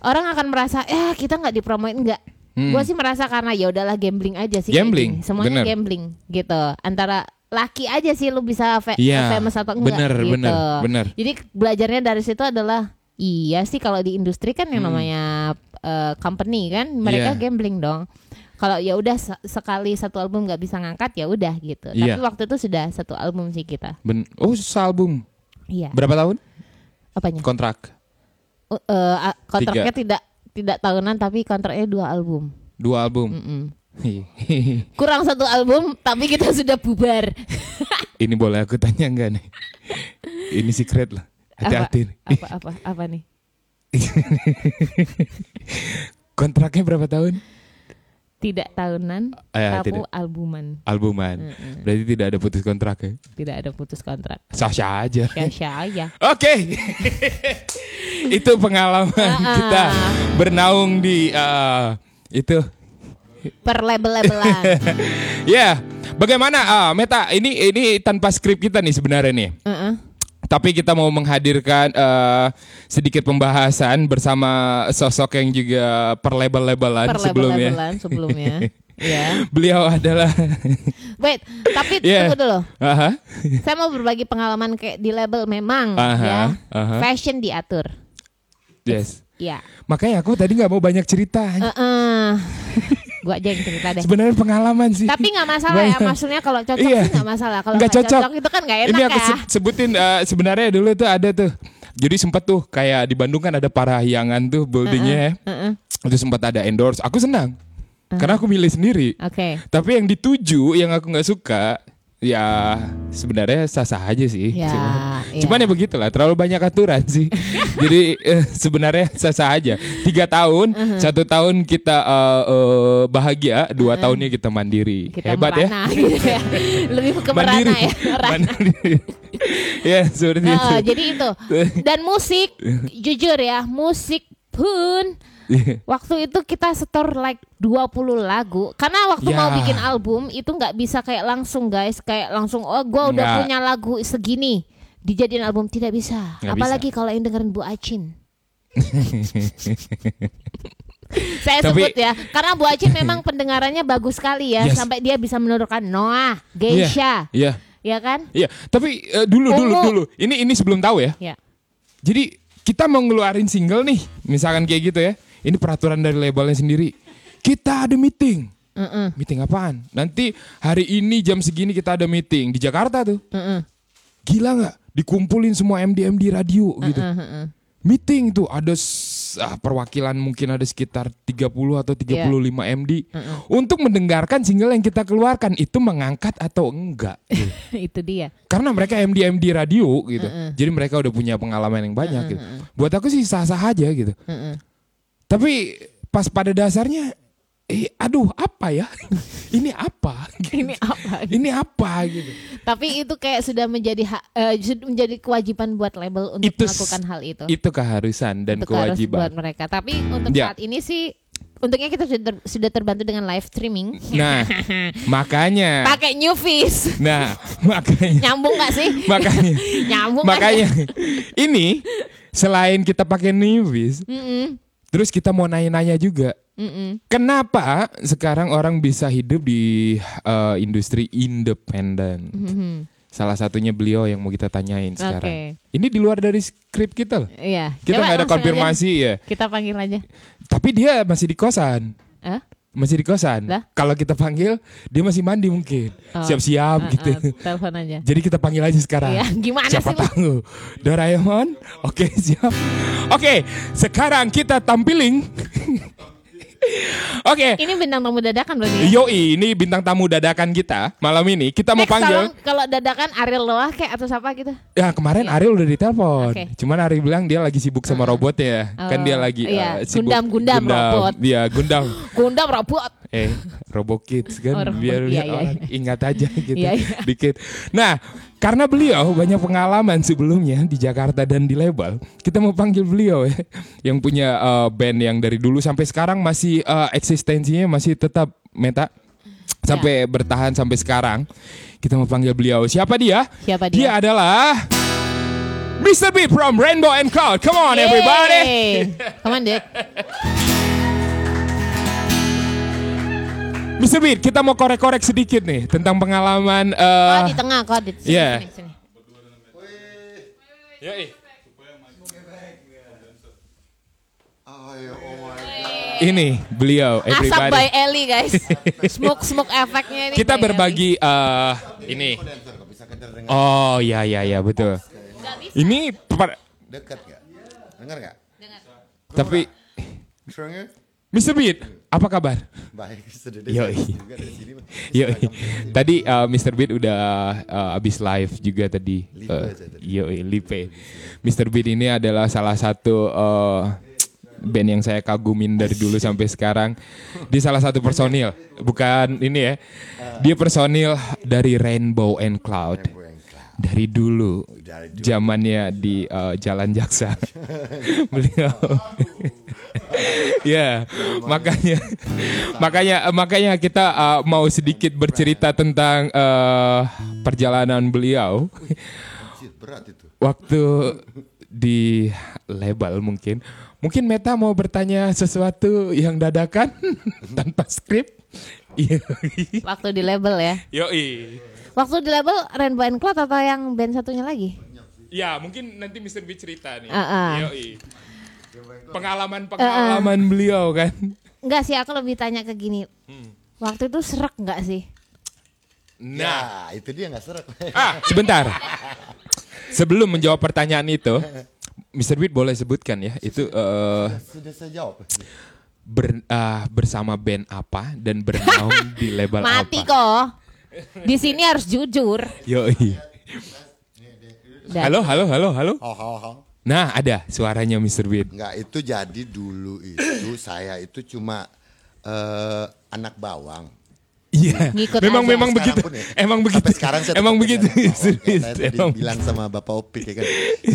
Speaker 2: orang akan merasa eh kita nggak dipromoin nggak
Speaker 1: Hmm.
Speaker 2: gue sih merasa karena ya udahlah gambling aja sih kayak
Speaker 1: Gambling,
Speaker 2: gini. semuanya
Speaker 1: bener.
Speaker 2: gambling gitu antara laki aja sih lu bisa fa-
Speaker 1: Iya,
Speaker 2: famous atau enggak
Speaker 1: bener,
Speaker 2: gitu
Speaker 1: bener, bener.
Speaker 2: jadi belajarnya dari situ adalah iya sih kalau di industri kan yang namanya eh, company kan mereka
Speaker 1: Hmm. Iya.
Speaker 2: gambling dong kalau ya udah se- sekali satu album nggak bisa ngangkat ya udah gitu
Speaker 1: Iya.
Speaker 2: tapi waktu itu sudah satu album sih kita
Speaker 1: Ben oh, album.
Speaker 2: iya
Speaker 1: Berapa tahun
Speaker 2: apanya
Speaker 1: kontrak?
Speaker 2: Eh, eh, a- kontraknya tidak tidak tahunan tapi kontraknya dua album
Speaker 1: Dua album.
Speaker 2: Mm-mm.
Speaker 1: Hehehe.
Speaker 2: Kurang satu album, tapi kita sudah bubar.
Speaker 1: Ini boleh aku tanya enggak nih? Ini secret lah. Hati-hati. nih.
Speaker 2: Apa apa apa nih?
Speaker 1: Kontraknya berapa tahun?
Speaker 2: Tidak tahunan,
Speaker 1: Eh,
Speaker 2: tapi
Speaker 1: tidak.
Speaker 2: albuman. Hmm,
Speaker 1: Albuman. Berarti tidak ada putus kontrak ya?
Speaker 2: Tidak ada putus kontrak.
Speaker 1: Sah-sah aja.
Speaker 2: Ya saya.
Speaker 1: Oke. itu pengalaman
Speaker 2: Ah,
Speaker 1: kita bernaung di eh, itu.
Speaker 2: Per label-labelan.
Speaker 1: Ya, bagaimana ah, Meta? Ini ini tanpa skrip kita nih sebenarnya nih.
Speaker 2: Heeh.
Speaker 1: Tapi kita mau menghadirkan eh, sedikit pembahasan bersama sosok yang juga perlebel-lebelan
Speaker 2: Per
Speaker 1: sebelumnya.
Speaker 2: label-labelan sebelumnya. Ya.
Speaker 1: Beliau adalah
Speaker 2: Wait, tapi
Speaker 1: Iya.
Speaker 2: tunggu dulu.
Speaker 1: Aha.
Speaker 2: Saya mau berbagi pengalaman kayak di label memang
Speaker 1: Aha,
Speaker 2: ya.
Speaker 1: aha.
Speaker 2: Fashion diatur.
Speaker 1: Yes.
Speaker 2: Ya.
Speaker 1: Makanya aku tadi nggak mau banyak cerita.
Speaker 2: Heeh. Gua aja yang cerita deh.
Speaker 1: Eh. Sebenarnya pengalaman sih.
Speaker 2: Tapi nggak masalah ya,
Speaker 1: Banyak.
Speaker 2: maksudnya kalau cocok
Speaker 1: Iya.
Speaker 2: sih nggak masalah. Kalau
Speaker 1: Nggak
Speaker 2: nggak cocok.
Speaker 1: cocok.
Speaker 2: itu kan nggak enak
Speaker 1: Ini aku
Speaker 2: ya.
Speaker 1: se- sebutin eh, sebenarnya dulu tuh ada tuh. Jadi sempat tuh kayak di Bandung kan ada parahyangan tuh buildingnya. ya.
Speaker 2: Heeh.
Speaker 1: Itu sempat ada endorse. Aku senang karena aku milih sendiri.
Speaker 2: Oke.
Speaker 1: Tapi yang dituju yang aku nggak suka ya sebenarnya sah-sah aja sih.
Speaker 2: Ya,
Speaker 1: cuman,
Speaker 2: iya.
Speaker 1: cuman ya begitulah terlalu banyak aturan sih. Jadi eh, sebenarnya sah-sah aja. Tiga tahun, satu tahun kita eh, eh, bahagia, dua tahunnya kita mandiri.
Speaker 2: Kita
Speaker 1: Hebat ya.
Speaker 2: merana, gitu ya. Lebih ke merana
Speaker 1: mandiri.
Speaker 2: ya. Merana.
Speaker 1: Mandiri. ya seperti itu.
Speaker 2: Heeh, jadi itu. Dan musik jujur ya, musik pun waktu itu kita setor like 20 lagu karena waktu
Speaker 1: Ya.
Speaker 2: mau bikin album itu nggak bisa kayak langsung guys, kayak langsung oh gua udah
Speaker 1: Nggak.
Speaker 2: punya lagu segini dijadiin album tidak bisa.
Speaker 1: Nggak
Speaker 2: Apalagi kalau yang dengerin Bu Acin.
Speaker 1: Iya.
Speaker 2: Saya
Speaker 1: Tapi-
Speaker 2: sebut ya, karena Bu Acin memang pendengarannya bagus sekali ya,
Speaker 1: Yes.
Speaker 2: sampai dia bisa menurunkan Noah, Geisha,
Speaker 1: Iya.
Speaker 2: ya kan?
Speaker 1: Iya, tapi eh, dulu dulu
Speaker 2: Ungu.
Speaker 1: dulu. Ini ini sebelum tahu ya.
Speaker 2: Ya.
Speaker 1: Jadi kita mau ngeluarin single nih, misalkan kayak gitu ya. Ini peraturan dari labelnya sendiri. Kita ada meeting.
Speaker 2: Mm-mm.
Speaker 1: Meeting apaan? Nanti hari ini jam segini kita ada meeting di Jakarta tuh.
Speaker 2: Mm-mm.
Speaker 1: Gila nggak? Dikumpulin semua MD-MD radio gitu. Meeting tuh ada s- ah, perwakilan mungkin ada sekitar 30
Speaker 2: Iya.
Speaker 1: atau 35 MD untuk mendengarkan single yang kita keluarkan itu mengangkat atau enggak. gitu.
Speaker 2: itu dia.
Speaker 1: karena mereka MD MD radio gitu. Jadi mereka udah punya pengalaman yang banyak gitu. Buat aku sih sah-sah aja gitu.
Speaker 2: Mm-mm.
Speaker 1: Tapi pas pada dasarnya eh aduh apa ya? Ini apa?
Speaker 2: Ini apa?
Speaker 1: Ini apa gitu.
Speaker 2: Tapi itu kayak sudah menjadi hak, eh, sud- menjadi kewajiban buat label untuk
Speaker 1: Itu s-
Speaker 2: melakukan hal itu.
Speaker 1: Itu keharusan dan
Speaker 2: Itu harus buat
Speaker 1: kewajiban.
Speaker 2: mereka. Tapi untuk
Speaker 1: Ya.
Speaker 2: saat ini sih untungnya kita sudah, ter- sudah terbantu dengan live streaming.
Speaker 1: Nah, makanya.
Speaker 2: Pakai new face.
Speaker 1: Nah, makanya.
Speaker 2: Nyambung gak sih?
Speaker 1: Makanya.
Speaker 2: Nyambung kan
Speaker 1: Makanya
Speaker 2: ya?
Speaker 1: ini selain kita pakai Nivis,
Speaker 2: Mm-mm,
Speaker 1: terus kita mau nanya-nanya juga.
Speaker 2: mm-mm.
Speaker 1: Kenapa sekarang orang bisa hidup di eh, industri independen?
Speaker 2: Mm-hmm.
Speaker 1: Salah satunya beliau yang mau kita tanyain sekarang. Ini di luar dari skrip kita loh.
Speaker 2: Iya.
Speaker 1: Kita
Speaker 2: Coba
Speaker 1: nggak ada
Speaker 2: langsung
Speaker 1: konfirmasi ya.
Speaker 2: aja. Kita panggil aja.
Speaker 1: Tapi dia masih di kosan.
Speaker 2: Hah?
Speaker 1: Masih di kosan.
Speaker 2: Lah?
Speaker 1: Kalau kita panggil, dia masih mandi mungkin.
Speaker 2: Oh.
Speaker 1: Siap-siap
Speaker 2: Ah,
Speaker 1: gitu.
Speaker 2: ah, telepon aja.
Speaker 1: Jadi kita panggil aja sekarang.
Speaker 2: Iya, gimana sih,
Speaker 1: Siapa
Speaker 2: Mas?
Speaker 1: tahu? Doraemon. Oke, siap. Oke, sekarang kita tampilin. Oke,
Speaker 2: Ini bintang tamu dadakan berarti. ya?
Speaker 1: Yoi, ini bintang tamu dadakan kita malam ini. Kita mau
Speaker 2: Next,
Speaker 1: panggil.
Speaker 2: tolong kalau dadakan Ariel Loah kayak atau siapa gitu.
Speaker 1: Ya kemarin Ariel udah ditelepon.
Speaker 2: Oke.
Speaker 1: Cuman Ariel bilang dia lagi sibuk sama robotnya.
Speaker 2: Oh,
Speaker 1: Kan dia lagi
Speaker 2: iya.
Speaker 1: eh, sibuk.
Speaker 2: Gundam, Gundam, robot.
Speaker 1: Iya, Gundam.
Speaker 2: Gundam robot.
Speaker 1: eh, Robo Kids kan
Speaker 2: Oh, Robo-
Speaker 1: biar
Speaker 2: iya, iya,
Speaker 1: orang ingat aja gitu
Speaker 2: Iya, iya.
Speaker 1: dikit. Nah, karena beliau banyak pengalaman sebelumnya di Jakarta dan di label, kita mau panggil beliau ya yang punya eh, band yang dari dulu sampai sekarang masih eh, eksistensinya masih tetap Meta sampai
Speaker 2: Iya.
Speaker 1: bertahan sampai sekarang. Kita mau panggil beliau. Siapa dia?
Speaker 2: Siapa
Speaker 1: Dia
Speaker 2: dia?
Speaker 1: adalah Mr. B from Rainbow and Cloud. Come on everybody. Uh,
Speaker 2: Yeay. Come on, Dek.
Speaker 1: Mr. B, kita mau korek-korek sedikit nih tentang pengalaman
Speaker 2: Kau
Speaker 1: eh
Speaker 2: Oh, di tengah, kau di sini,
Speaker 1: yeah.
Speaker 2: sini, sini.
Speaker 1: Yoi.
Speaker 3: Oh ya, oh my God.
Speaker 1: ini beliau
Speaker 2: Asap by
Speaker 1: everybody.
Speaker 2: Ellie, guys. smoke smoke efeknya ini. by
Speaker 1: Kita
Speaker 2: Ellie.
Speaker 1: berbagi eh ini.
Speaker 3: Kondenser kok bisa kedengar dengan
Speaker 1: Oh ya ya ya betul. Ini per-
Speaker 3: dekat nggak? Dengar nggak?
Speaker 1: tapi
Speaker 3: Sure
Speaker 1: Mr. Beat, apa kabar?
Speaker 3: Baik, sudah
Speaker 1: Yoi.
Speaker 3: dekat juga dari sini.
Speaker 1: Yoi. Tadi uh, Mr. Beat udah uh, abis live juga tadi.
Speaker 3: Live
Speaker 1: Uh,
Speaker 3: aja tadi.
Speaker 1: yoi, Lipe. Mr. Beat ini adalah salah satu uh, band yang saya kagumin dari dulu sampai sekarang. Dia salah satu personil, bukan ini ya. Dia personil dari Rainbow and Cloud.
Speaker 3: Gue yang kelar.
Speaker 1: Dari dulu,
Speaker 3: Dari dulu.
Speaker 1: zamannya di uh, Jalan Jaksa. Beliau. Ya, makanya makanya makanya kita uh, mau sedikit bercerita tentang uh, perjalanan beliau
Speaker 3: Shit, berat itu.
Speaker 1: waktu di label mungkin. Mungkin Meta mau bertanya sesuatu yang dadakan tanpa skrip. Iya.
Speaker 2: Waktu di label ya.
Speaker 1: Yoi.
Speaker 2: Waktu di label Rainbow and Cloud atau yang band satunya lagi?
Speaker 1: Ya, mungkin nanti Mr. B cerita nih.
Speaker 2: Ah, ah.
Speaker 1: Yoi. Pengalaman-pengalaman beliau kan.
Speaker 2: Enggak sih, aku lebih tanya ke gini.
Speaker 1: Hmm.
Speaker 2: Waktu itu serak nggak sih?
Speaker 1: Nah,
Speaker 3: Nah, itu dia nggak serak.
Speaker 1: Ah, sebentar. Sebelum menjawab pertanyaan itu, Mr. Beat boleh sebutkan ya, itu eh,
Speaker 3: sudah saya jawab.
Speaker 1: ber- ah, bersama band apa dan bernaung di label
Speaker 2: Mati
Speaker 1: apa?
Speaker 2: kok. Di sini harus jujur.
Speaker 1: Yoi.
Speaker 2: Dan-
Speaker 1: Halo, halo, halo, halo.
Speaker 3: Oh, oh, oh.
Speaker 1: Nah, ada suaranya Mr. Beat.
Speaker 3: Nggak, itu jadi dulu itu saya itu cuma eh, anak bawang.
Speaker 1: Iya.
Speaker 2: Ngikut
Speaker 1: Memang
Speaker 2: aja.
Speaker 1: memang begitu.
Speaker 3: Sekarang pun ya.
Speaker 1: Emang
Speaker 3: Sampai
Speaker 1: begitu.
Speaker 3: sekarang saya
Speaker 1: emang
Speaker 3: tetap
Speaker 1: begitu.
Speaker 3: jadi anak
Speaker 1: Mr.
Speaker 3: bawang. Ya,
Speaker 1: Beat.
Speaker 3: saya
Speaker 1: Emang
Speaker 3: bilang sama Bapak Opik ya kan.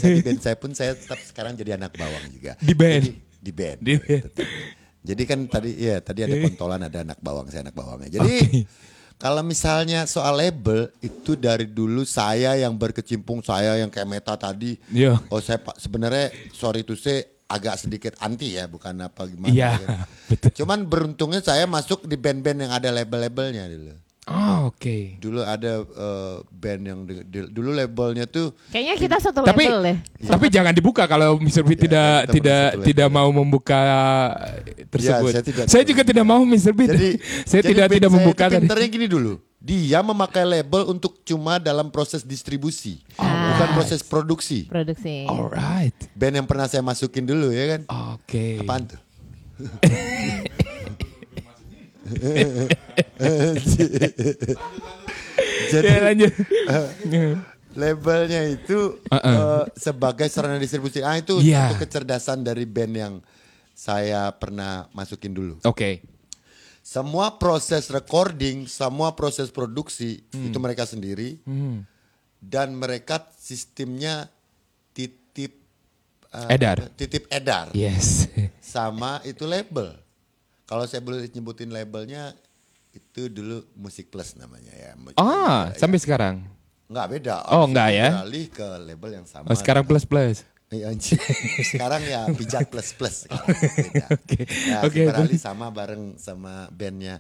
Speaker 3: Saya di band saya pun saya tetap sekarang jadi anak bawang juga.
Speaker 1: Di band.
Speaker 3: Jadi, di band.
Speaker 1: Di- Eh.
Speaker 3: Jadi kan tadi ya tadi ada kontolan ada anak bawang saya anak bawangnya. Jadi kalau misalnya soal label itu dari dulu saya yang berkecimpung saya yang kayak Meta tadi.
Speaker 1: Iya.
Speaker 3: Oh saya pak sebenarnya sorry to say agak sedikit anti ya bukan apa gimana.
Speaker 1: Iya,
Speaker 3: ya.
Speaker 1: betul.
Speaker 3: Cuman beruntungnya saya masuk di band-band yang ada label-labelnya dulu.
Speaker 1: Oh, oke.
Speaker 3: Dulu ada eh, band yang di- di- dulu labelnya tuh
Speaker 2: Kayaknya kita satu
Speaker 1: Tapi
Speaker 2: label deh.
Speaker 1: tapi jangan dibuka kalau Mr.
Speaker 3: Iya,
Speaker 1: Beat tidak
Speaker 3: kita
Speaker 1: tidak
Speaker 3: bersatu label.
Speaker 1: tidak mau membuka eh, tersebut.
Speaker 3: ya. Iya, saya tidak-
Speaker 1: saya juga tidak mau Mr. Beat.
Speaker 3: Jadi
Speaker 1: saya
Speaker 3: jadi
Speaker 1: tidak tidak
Speaker 3: band saya itu
Speaker 1: membuka tadi.
Speaker 3: Pinternya gini dulu. Dia memakai label untuk cuma dalam proses distribusi, bukan proses produksi.
Speaker 2: Produksi.
Speaker 1: Oh. Alright.
Speaker 3: Band yang pernah saya masukin dulu ya kan.
Speaker 1: Oke.
Speaker 3: Apaan tuh?
Speaker 1: Ya,
Speaker 3: Jadi
Speaker 1: lanjut.
Speaker 3: labelnya itu eh, sebagai sarana distribusi. Ah itu
Speaker 1: Uh-uh. Iya.
Speaker 3: satu kecerdasan dari band yang saya pernah masukin dulu.
Speaker 1: Oke.
Speaker 3: Semua proses recording, semua proses produksi
Speaker 1: Hmm.
Speaker 3: itu mereka sendiri. Dan mereka sistemnya titip eh,
Speaker 1: Edar. Iya.
Speaker 3: Titip edar
Speaker 1: Yes.
Speaker 3: sama itu label. Kalau saya boleh nyebutin labelnya itu dulu Musik Plus namanya ya. Mu-
Speaker 1: Ah, sampai sekarang.
Speaker 3: Nggak beda.
Speaker 1: Oh, nggak ya?
Speaker 3: Beralih ke label yang sama.
Speaker 1: Oh, sekarang plus plus.
Speaker 3: Iya, anjing. sekarang ya pijat plus plus. Oke.
Speaker 1: Oke. Oke,
Speaker 3: Oke.
Speaker 1: boleh.
Speaker 3: sama bareng sama bandnya.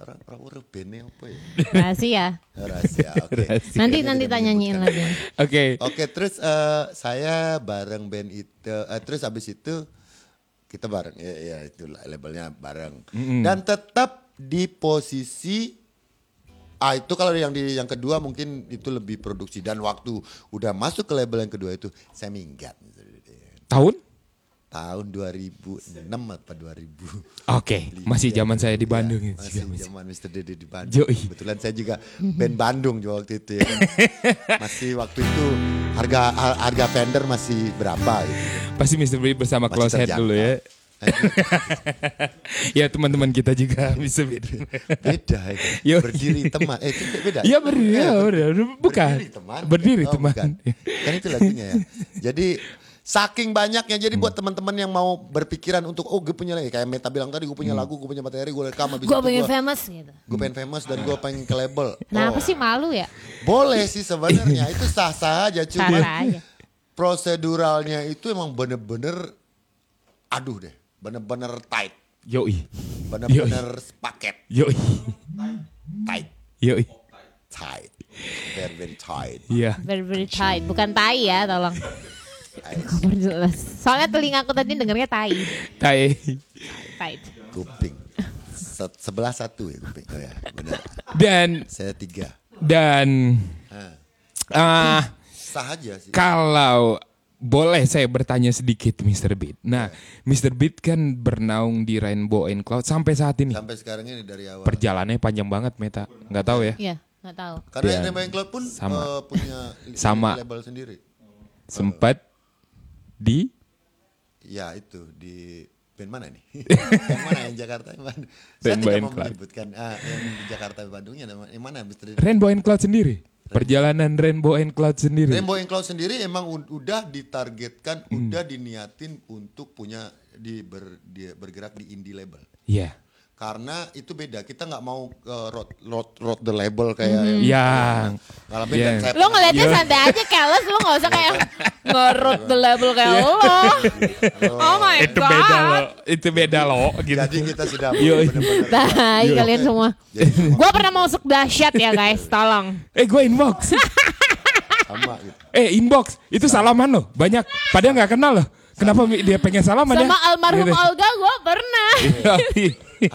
Speaker 3: Orang orang orang bandnya apa ya?
Speaker 2: Rahasia.
Speaker 3: Rahasia. Oke.
Speaker 1: Rahasia.
Speaker 2: Nah, Nanti
Speaker 3: Saya
Speaker 2: nanti
Speaker 3: tidak
Speaker 2: tanya nyanyiin
Speaker 3: menyebutkan.
Speaker 2: lagi.
Speaker 1: Oke.
Speaker 3: Oke, terus eh, saya bareng band itu, eh, terus abis itu kita bareng, ya, ya itu la- labelnya bareng, dan tetap di posisi ah itu kalau yang di yang kedua mungkin itu lebih produksi dan waktu udah masuk ke label yang kedua itu saya minggat
Speaker 1: Tahun?
Speaker 3: tahun 2006 apa 2000
Speaker 1: Oke. Masih zaman saya di Bandung. ya.
Speaker 3: Iya, masih zaman Mr. Dede di Bandung.
Speaker 1: Yoi.
Speaker 3: Kebetulan saya juga band Bandung juga waktu itu ya kan. masih waktu itu harga har- harga vendor masih berapa gitu.
Speaker 1: Pasti Mr. Beat bersama
Speaker 3: Masih
Speaker 1: Close Head
Speaker 3: terjangkau.
Speaker 1: dulu ya. ya teman-teman kita juga Mr. Beat.
Speaker 3: Beda ya. kan.
Speaker 1: Yoi.
Speaker 3: Berdiri teman. Eh itu beda.
Speaker 1: Iya berdiri, ya, berdiri. bukan.
Speaker 3: Berdiri teman.
Speaker 1: Berdiri
Speaker 3: Oh,
Speaker 1: teman. Iya.
Speaker 3: bukan. Kan itu lagunya ya. Jadi Saking banyaknya jadi
Speaker 1: Hmm.
Speaker 3: buat teman-teman yang mau berpikiran untuk oh gue punya lagi kayak Meta bilang tadi gue
Speaker 1: Hmm.
Speaker 3: punya lagu, gue punya materi, gue rekam habis
Speaker 2: Gue
Speaker 3: itu
Speaker 2: pengen
Speaker 3: gue
Speaker 2: famous gitu.
Speaker 3: gue pengen famous dan gue pengen ke label.
Speaker 2: Kenapa
Speaker 3: Oh,
Speaker 2: sih malu ya?
Speaker 3: Boleh sih sebenarnya itu sah-sah aja
Speaker 2: Tara
Speaker 3: cuma
Speaker 2: aja.
Speaker 3: proseduralnya itu emang bener-bener aduh deh, bener-bener tight,
Speaker 1: Yoi.
Speaker 3: bener-bener paket
Speaker 1: Yoi.
Speaker 3: tight,
Speaker 1: Yoi.
Speaker 3: tight, very very tight.
Speaker 1: Iya.
Speaker 2: Very very tight. Bukan tai ya tolong. Perjelas. Soalnya telinga aku tadi dengernya tai.
Speaker 1: Tai.
Speaker 2: Tight.
Speaker 3: Kuping. Se sebelah satu ya kuping. Oh ya, benar.
Speaker 1: Dan
Speaker 3: Saya tiga.
Speaker 1: dan
Speaker 3: Eh.
Speaker 1: ah
Speaker 3: Sah aja sih.
Speaker 1: kalau boleh saya bertanya sedikit Mr. Beat. Nah, Mr. Beat kan bernaung di Rainbow and Cloud sampai saat ini.
Speaker 3: Sampai sekarang ini dari awal.
Speaker 1: Perjalanannya panjang banget, Meta. Nggak tahu ya.
Speaker 2: Iya, nggak tahu.
Speaker 1: Iya.
Speaker 3: Karena Rainbow Club pun
Speaker 1: Sama.
Speaker 3: eh, punya li-
Speaker 1: Sama.
Speaker 3: label sendiri.
Speaker 1: Sempat di
Speaker 3: Ya itu di band mana nih? yang mana yang Jakarta yang mana? Saya
Speaker 1: Band
Speaker 3: tidak
Speaker 1: Bayan
Speaker 3: mau
Speaker 1: Club.
Speaker 3: menyebutkan ah, yang di Jakarta Bandungnya ada- yang mana Mr.
Speaker 1: Rainbow and Cloud sendiri. Perjalanan Rainbow and Cloud sendiri.
Speaker 3: Rainbow and Cloud sendiri emang ud- udah ditargetkan,
Speaker 1: Hmm.
Speaker 3: udah diniatin untuk punya di, ber- di- bergerak di indie label.
Speaker 1: Iya.
Speaker 3: Karena itu beda, kita nggak mau eh, road, road, road the label kayak yang
Speaker 1: Yang
Speaker 3: ngalamin
Speaker 1: Iya.
Speaker 3: dan saya
Speaker 2: Mm-hmm. Lo ngeliatnya santai aja, keles. Lo nggak usah kayak ngerut the label kayak lo. Oh my
Speaker 1: itu beda
Speaker 2: god.
Speaker 1: loh. Itu beda loh gitu.
Speaker 3: Jadi kita sudah
Speaker 1: Yoi.
Speaker 3: benar-benar
Speaker 2: Tai kalian semua.
Speaker 3: Jadi-
Speaker 2: Gua pernah masuk dahsyat ya guys, tolong.
Speaker 1: Eh gue inbox.
Speaker 3: sama gitu.
Speaker 1: eh inbox. Itu salaman loh. Banyak. Padahal nggak kenal loh. Kenapa mi- dia pengen salaman ya?
Speaker 2: Sama almarhum
Speaker 1: Gitu.
Speaker 2: Olga gua pernah.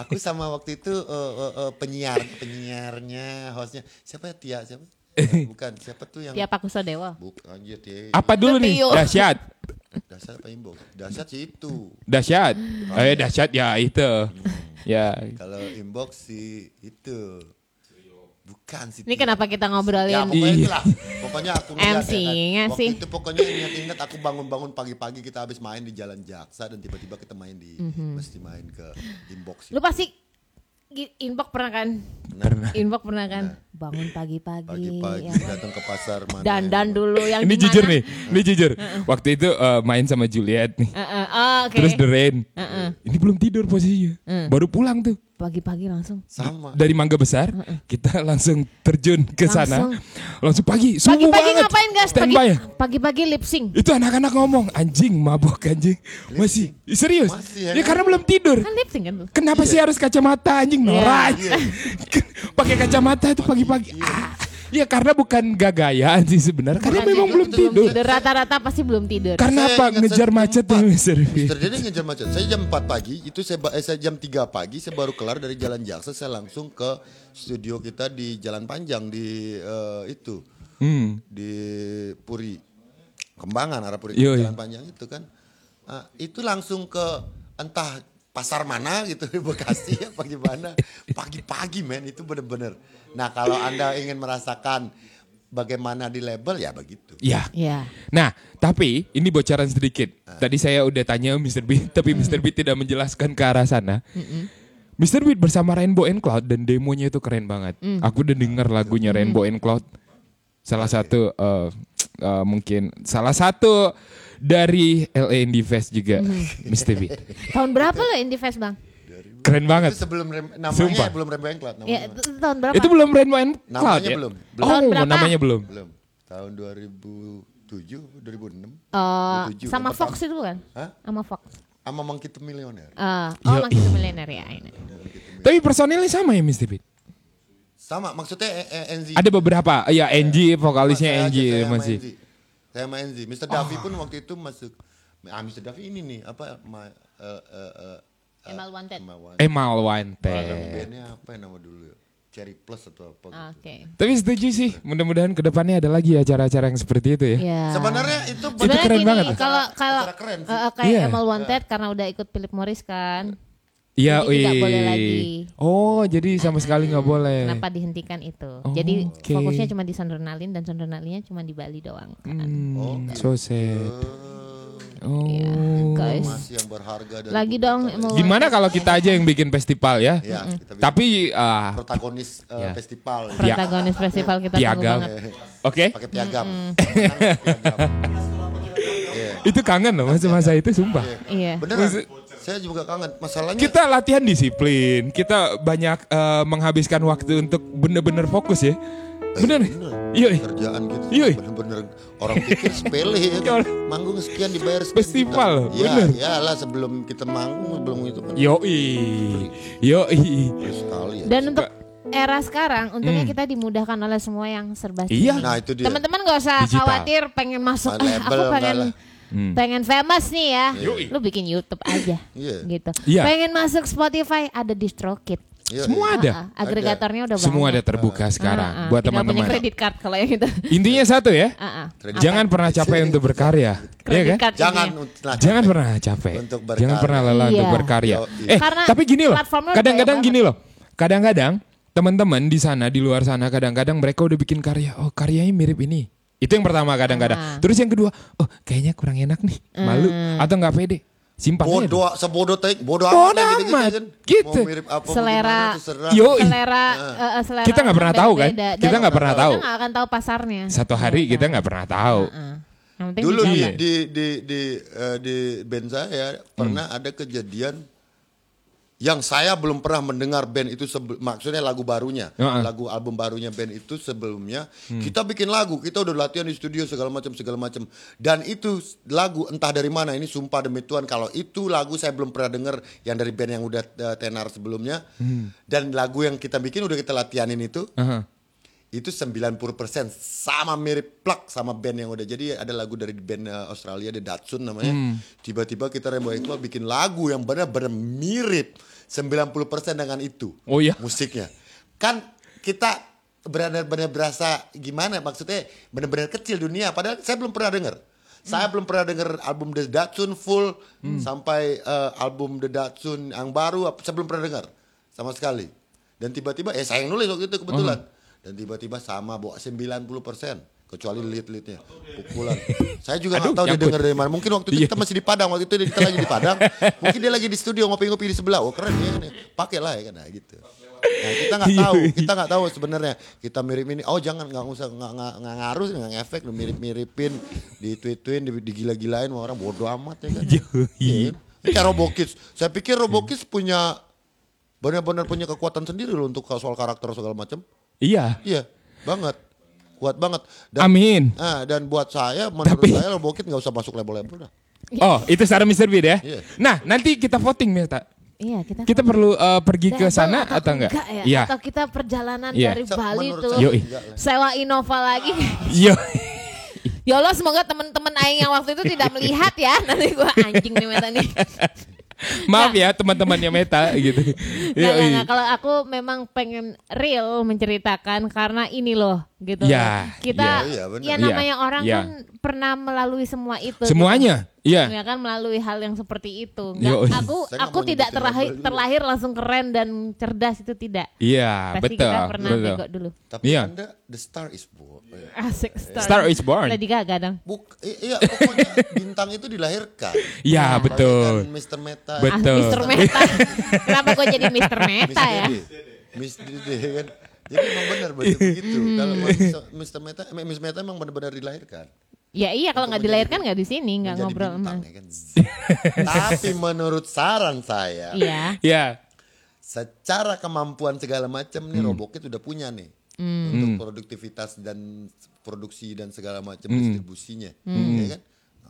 Speaker 3: Aku sama waktu itu eh, eh, eh, penyiar, penyiarnya, hostnya siapa ya Tia siapa? Eh, bukan siapa tuh yang
Speaker 2: Tiap aku sodewa.
Speaker 3: Buk, anjir Tia.
Speaker 1: Apa dulu nih?
Speaker 2: Tio.
Speaker 1: Dahsyat.
Speaker 3: Dasar apa imbo? Dasar sih itu.
Speaker 1: Dahsyat. Eh dahsyat ya itu. Ya.
Speaker 3: Kalau inbox si itu. Bukan sih.
Speaker 2: Ini
Speaker 3: Tia.
Speaker 2: kenapa kita
Speaker 3: Ya
Speaker 2: ngobrolin?
Speaker 3: pokoknya
Speaker 1: Iya.
Speaker 3: itulah. Pokoknya aku ngeliat ya kan.
Speaker 2: MC-nya
Speaker 3: Waktu
Speaker 2: sih.
Speaker 3: itu pokoknya ingat-ingat aku bangun-bangun pagi-pagi kita habis main di Jalan Jaksa dan tiba-tiba kita main di mesti main ke inbox.
Speaker 2: Lu pasti gi- inbox pernah kan? Inbox pernah kan? Bangun pagi-pagi.
Speaker 3: Pagi-pagi
Speaker 2: ya.
Speaker 3: datang ke pasar mana?
Speaker 2: Dandan dulu yang
Speaker 1: Ini
Speaker 2: di
Speaker 1: jujur
Speaker 2: mana?
Speaker 1: nih. Ini jujur. Waktu itu eh, main sama Juliet nih.
Speaker 2: Eh, eh, oh, Oke.
Speaker 1: Terus The Rain. Ini belum tidur posisinya. Baru pulang tuh.
Speaker 2: Pagi-pagi langsung.
Speaker 3: Sama.
Speaker 1: Dari Mangga Besar, kita langsung terjun ke sana. Langsung pagi, subuh
Speaker 2: Pagi-pagi
Speaker 1: banget.
Speaker 2: ngapain guys? Pagi-
Speaker 1: Standby ya.
Speaker 2: Pagi-pagi lip sync.
Speaker 1: Itu anak-anak ngomong, anjing mabok anjing. Masih, serius?
Speaker 3: Masih, ya.
Speaker 1: ya karena belum tidur.
Speaker 2: Kan lip sync kan lu?
Speaker 1: Kenapa sih harus kacamata anjing norak?
Speaker 3: Iya.
Speaker 1: Pakai kacamata itu pagi-pagi. Ah. Ya karena bukan gagayaan sih sebenarnya, karena
Speaker 2: Bukan
Speaker 1: memang
Speaker 2: ya,
Speaker 1: belum
Speaker 3: betul,
Speaker 1: tidur. Kan-
Speaker 2: Tidur, Rata-rata pasti belum tidur.
Speaker 1: Karena
Speaker 3: Saya
Speaker 1: apa?
Speaker 3: ingat
Speaker 1: Ngejar
Speaker 3: satu
Speaker 1: macet
Speaker 3: tempat.
Speaker 1: nih Mr. V.
Speaker 3: Mister Denny ngejar macet. Saya jam 4 pagi, itu saya, ba- eh, saya jam 3 pagi, saya baru kelar dari Jalan Jaksa, saya langsung ke studio kita di Jalan Panjang di eh, itu.
Speaker 1: Hmm.
Speaker 3: Di Puri. Kembangan arah Puri
Speaker 1: Yoi.
Speaker 3: Jalan Panjang itu kan. Ah, itu langsung ke entah pasar mana gitu di Bekasi apa gimana. Pagi-pagi men itu bener-bener. Nah, kalau Anda ingin merasakan bagaimana di label ya begitu.
Speaker 1: Ya.
Speaker 2: Iya.
Speaker 1: Nah, tapi ini bocoran sedikit. Tadi saya udah tanya Mr. Beat, tapi Mr. Beat tidak menjelaskan ke arah sana. Mr. Beat bersama Rainbow and Cloud dan demonya itu keren banget.
Speaker 2: Mm.
Speaker 1: Aku udah denger lagunya Rainbow and Cloud. Salah satu eh, eh, mungkin salah satu dari LA Indie Fest juga,
Speaker 2: Mm-hmm.
Speaker 1: Mr. Beat.
Speaker 2: Tahun berapa lo Indie Fest bang?
Speaker 1: Keren banget.
Speaker 3: Itu sebelum rem- namanya
Speaker 1: Sumpah.
Speaker 3: belum Rembang Club namanya.
Speaker 2: Ya, t- tahun berapa?
Speaker 1: Itu belum Rainbow and
Speaker 3: Namanya
Speaker 1: Cloud ya?
Speaker 3: belum.
Speaker 1: Oh,
Speaker 2: Tahun berapa?
Speaker 1: namanya belum.
Speaker 3: Belum. Tahun 2007, 2006.
Speaker 2: Eh,
Speaker 3: 2007,
Speaker 2: sama
Speaker 3: pertama.
Speaker 2: Fox itu bukan?
Speaker 3: Hah?
Speaker 2: Sama Fox.
Speaker 3: Sama Monkey to Millionaire.
Speaker 2: Eh, oh
Speaker 1: Yo,
Speaker 2: masih The Millionaire ya ini.
Speaker 1: Tapi personilnya sama ya Mr. Beat?
Speaker 3: Sama, maksudnya eh, eh, NZ.
Speaker 1: Ada beberapa, ya NG,
Speaker 3: Saya
Speaker 1: vokalisnya
Speaker 3: aja, Iya, saya
Speaker 1: NG
Speaker 3: sama
Speaker 1: masih.
Speaker 3: NZ. Saya sama NZ. Mr. Davi pun waktu itu masuk. Ah, Mr. Davi ini nih, apa? My, eh, eh, eh, eh,
Speaker 2: ML Wanted.
Speaker 3: My Wanted.
Speaker 1: Emal Wanted.
Speaker 3: Barang bandnya apa yang nama dulu ya? Cherry Plus atau apa gitu.
Speaker 2: Oke.
Speaker 1: Tapi setuju sih, mudah-mudahan kedepannya ada lagi acara-acara yang seperti itu ya.
Speaker 2: Ya.
Speaker 3: Sebenarnya itu
Speaker 1: Itu
Speaker 2: Sebenarnya
Speaker 1: keren
Speaker 2: gini,
Speaker 1: banget.
Speaker 2: Kalau kalau
Speaker 3: acara keren sih.
Speaker 2: eh, eh, kayak
Speaker 1: Iya.
Speaker 2: Emil Wanted karena udah ikut Philip Morris kan.
Speaker 1: Iya,
Speaker 2: Jadi tidak
Speaker 1: wih.
Speaker 2: boleh lagi.
Speaker 1: Oh, jadi sama sekali nggak boleh.
Speaker 2: Kenapa dihentikan itu?
Speaker 1: Oh,
Speaker 2: Jadi
Speaker 1: oke.
Speaker 2: fokusnya cuma di Sondernalin dan Sondernalin cuma di Bali doang. kan?
Speaker 1: Hmm, so sad. Oh.
Speaker 2: Iya. Guys,
Speaker 3: masih yang berharga dan
Speaker 2: lagi dong Emil Wanted.
Speaker 1: Gimana kalau kita aja yang bikin festival
Speaker 2: Iya.
Speaker 1: ya?
Speaker 3: Ya, kita bikin
Speaker 1: Tapi ah,
Speaker 3: protagonis eh,
Speaker 1: Ya.
Speaker 3: festival.
Speaker 1: Ya.
Speaker 2: Protagonis festival kita tunggu
Speaker 1: piagam.
Speaker 2: banget.
Speaker 1: Oke.
Speaker 3: Pakai piagam. Iya.
Speaker 1: itu kangen loh masa-masa itu sumpah.
Speaker 2: Iya.
Speaker 3: Beneran.
Speaker 1: Maksud-
Speaker 3: Saya juga kangen. Masalahnya
Speaker 1: Kita latihan disiplin, kita banyak eh, menghabiskan waktu untuk bener-bener fokus
Speaker 2: Eh,
Speaker 1: ya. Bener? Iya.
Speaker 3: kerjaan gitu
Speaker 1: Yoi.
Speaker 3: bener-bener orang pikir sepele ya kan. manggung sekian dibayar sekian
Speaker 1: Festival,
Speaker 3: juta. ya
Speaker 1: bener.
Speaker 3: iyalah sebelum kita manggung sebelum itu kan
Speaker 1: Yoi. Yoi.
Speaker 3: Terus sekali ya
Speaker 2: Dan untuk era sekarang untungnya kita dimudahkan oleh semua yang serba
Speaker 1: Hmm. Iya.
Speaker 3: nah itu dia
Speaker 2: Teman-teman gak usah
Speaker 1: Digital. Hmm.
Speaker 2: khawatir pengen masuk.
Speaker 3: Nah,
Speaker 2: "Ah, aku
Speaker 3: label,
Speaker 2: pengen
Speaker 3: enggak lah."
Speaker 2: pengen famous nih ya.
Speaker 1: Yoi.
Speaker 2: Lu bikin YouTube aja.
Speaker 3: Iya.
Speaker 2: gitu.
Speaker 1: Iya.
Speaker 2: Pengen masuk Spotify ada DistroKid.
Speaker 3: Yoi.
Speaker 1: Semua ada.
Speaker 2: Ah, ah, agregatornya udah banyak.
Speaker 1: Iya.
Speaker 2: Ah,
Speaker 1: Semua ada terbuka sekarang buat
Speaker 2: Tinggal punya
Speaker 1: teman-teman.
Speaker 2: kredit card kalau yang itu.
Speaker 1: Intinya satu ya.
Speaker 2: Ah, ah.
Speaker 3: Kredit
Speaker 1: Jangan pernah capek untuk berkarya. Iya
Speaker 2: Kredit
Speaker 1: kan?
Speaker 2: card
Speaker 3: jangan
Speaker 2: ini.
Speaker 3: nah,
Speaker 1: Jangan pernah capek.
Speaker 3: Untuk berkarya.
Speaker 1: Jangan pernah lelah
Speaker 2: Iya.
Speaker 1: untuk berkarya.
Speaker 3: Yo, iya.
Speaker 1: Eh,
Speaker 2: Karena
Speaker 1: tapi gini loh.
Speaker 2: platformnya udah
Speaker 1: Kadang-kadang
Speaker 2: banyak
Speaker 1: gini loh. Kadang-kadang teman-teman di sana di luar sana kadang-kadang mereka udah bikin karya. Oh, karyanya mirip ini. Itu yang pertama kadang-kadang.
Speaker 2: Ah.
Speaker 1: Terus yang kedua, oh kayaknya kurang enak nih, malu atau nggak pede. Simpan aja.
Speaker 3: bodoh sebodoh tadi bodoh
Speaker 1: Bodoh
Speaker 3: amat, gitu-gitu
Speaker 1: amat.
Speaker 3: kan.
Speaker 1: Gitu.
Speaker 3: mau mirip apa mau
Speaker 2: Selera.
Speaker 3: gimana, terserah.
Speaker 1: Yo. Yoi.
Speaker 2: Selera, eh, eh, selera
Speaker 1: Kita nggak pernah tahu kan?
Speaker 2: beda-beda.
Speaker 1: Kita
Speaker 2: Dan
Speaker 1: nggak pernah tahu.
Speaker 2: Kita nggak akan tahu pasarnya.
Speaker 1: Satu hari
Speaker 2: Gitu.
Speaker 1: kita nggak pernah tahu.
Speaker 2: Ah. Yang penting
Speaker 3: dulu di
Speaker 2: dicoba.
Speaker 3: di di di, eh, di band saya pernah ada kejadian yang saya belum pernah mendengar band itu sebel- maksudnya lagu barunya
Speaker 1: Heeh.
Speaker 3: lagu album barunya band itu sebelumnya kita bikin lagu kita udah latihan di studio segala macam segala macam dan itu s- lagu entah dari mana ini sumpah demi Tuhan kalau itu lagu saya belum pernah dengar yang dari band yang udah eh, tenar sebelumnya dan lagu yang kita bikin udah kita latihanin itu
Speaker 1: Aha.
Speaker 3: itu 90% sama mirip plak sama band yang udah jadi ada lagu dari band eh, Australia The Datsun namanya
Speaker 1: Hmm.
Speaker 3: tiba-tiba kita Rainbow Equal bikin lagu yang benar-benar mirip 90% dengan itu
Speaker 1: Oh iya.
Speaker 3: musiknya kan kita benar-benar berasa gimana maksudnya benar-benar kecil dunia padahal saya belum pernah dengar saya belum pernah dengar album The Datsun full sampai eh, album The Datsun yang baru apa- saya belum pernah dengar sama sekali dan tiba-tiba eh saya yang nulis waktu itu kebetulan dan tiba-tiba sama bawa 90% kecuali lead-leadnya pukulan saya juga nggak
Speaker 1: Aduh,
Speaker 3: tahu dia
Speaker 1: nyangkut.
Speaker 3: dengar dari mana mungkin waktu itu kita masih di Padang waktu itu kita lagi di Padang mungkin dia lagi di studio ngopi-ngopi di sebelah oh keren ya nih pakai lah ya kan nah, gitu Nah, kita nggak tahu, kita nggak tahu sebenarnya kita mirip ini. Oh jangan nggak usah nggak nggak nggak ngaruh sih, nggak ngefek lu mirip-miripin, dituituin, di- digila-gilain sama orang bodoh amat ya kan. Iya. Kayak Robokids. Saya pikir Robokids punya benar-benar punya kekuatan sendiri loh untuk soal karakter segala macam.
Speaker 1: Iya.
Speaker 3: Iya, banget. Kuat banget.
Speaker 1: Amin.
Speaker 3: Ah, dan buat saya menurut
Speaker 1: Tapi-
Speaker 3: saya Robokids nggak usah masuk label-label dah.
Speaker 2: Iya.
Speaker 1: Oh, itu saran Mr. Beat ya.
Speaker 3: Iya.
Speaker 1: Nah, nanti kita voting Mirta.
Speaker 2: Iya, kita
Speaker 1: Kita perlu eh, pergi ke
Speaker 2: Label
Speaker 1: sana atau enggak?
Speaker 2: ya?
Speaker 1: Iya.
Speaker 2: Atau kita perjalanan
Speaker 1: Iya.
Speaker 2: dari
Speaker 3: Sa-
Speaker 2: Bali
Speaker 3: menurut
Speaker 2: tuh
Speaker 3: saya
Speaker 1: Yoi.
Speaker 3: enggak lah.
Speaker 2: sewa Innova lagi.
Speaker 1: Yo.
Speaker 2: ya Allah semoga teman-teman aing yang waktu itu tidak melihat ya. Nanti gua anjing nih meta nih.
Speaker 1: Maaf ya teman-temannya Meta gitu.
Speaker 2: Nggak, nggak,
Speaker 1: Yoi.
Speaker 2: nggak. Kalau aku memang pengen real menceritakan karena ini loh gitu.
Speaker 1: Ya,
Speaker 2: loh. Kita
Speaker 1: ya.
Speaker 3: Iya, benar.
Speaker 2: ya
Speaker 1: Iya,
Speaker 2: namanya orang
Speaker 1: iya.
Speaker 2: kan pernah melalui semua itu.
Speaker 1: Semuanya.
Speaker 2: gitu.
Speaker 1: Iya.
Speaker 2: Ya kan melalui hal yang seperti itu. Nggak,
Speaker 1: Yoi.
Speaker 2: aku
Speaker 3: Saya nggak
Speaker 2: aku
Speaker 3: mau
Speaker 2: tidak
Speaker 3: nyebutin
Speaker 2: terlahir,
Speaker 3: label dulu.
Speaker 2: terlahir langsung keren dan cerdas itu tidak.
Speaker 1: Iya,
Speaker 2: Pasti
Speaker 1: betul.
Speaker 2: kita pernah
Speaker 1: betul.
Speaker 2: bego dulu.
Speaker 3: Tapi
Speaker 1: Iya.
Speaker 3: anda The Star is Iya. Born.
Speaker 2: Asik Star.
Speaker 1: Star is born.
Speaker 2: Lady Gaga dong.
Speaker 3: Buk, i- iya pokoknya bintang itu dilahirkan.
Speaker 1: Iya, betul.
Speaker 3: Bagaikan Mr. Meta.
Speaker 1: Bet-
Speaker 2: Ah,
Speaker 1: Betul.
Speaker 2: Mr. Meta. Kenapa gue jadi Mr. Meta ya?
Speaker 3: Dede. Miss Dede kan. Jadi emang benar berarti begitu. Kalau Mr. Mr. Meta, eh, Miss Meta emang benar-benar dilahirkan.
Speaker 2: Ya iya kalau nggak dilahirkan nggak di sini nggak
Speaker 3: Menjadi
Speaker 2: ngobrol sama.
Speaker 3: bintang, ya kan. Tapi menurut saran saya,
Speaker 2: Iya.
Speaker 1: Iya.
Speaker 3: secara kemampuan segala macam
Speaker 1: Hmm.
Speaker 3: nih Robokit udah punya nih. Untuk produktivitas dan produksi dan segala macam
Speaker 1: Hmm.
Speaker 3: distribusinya, ya kan?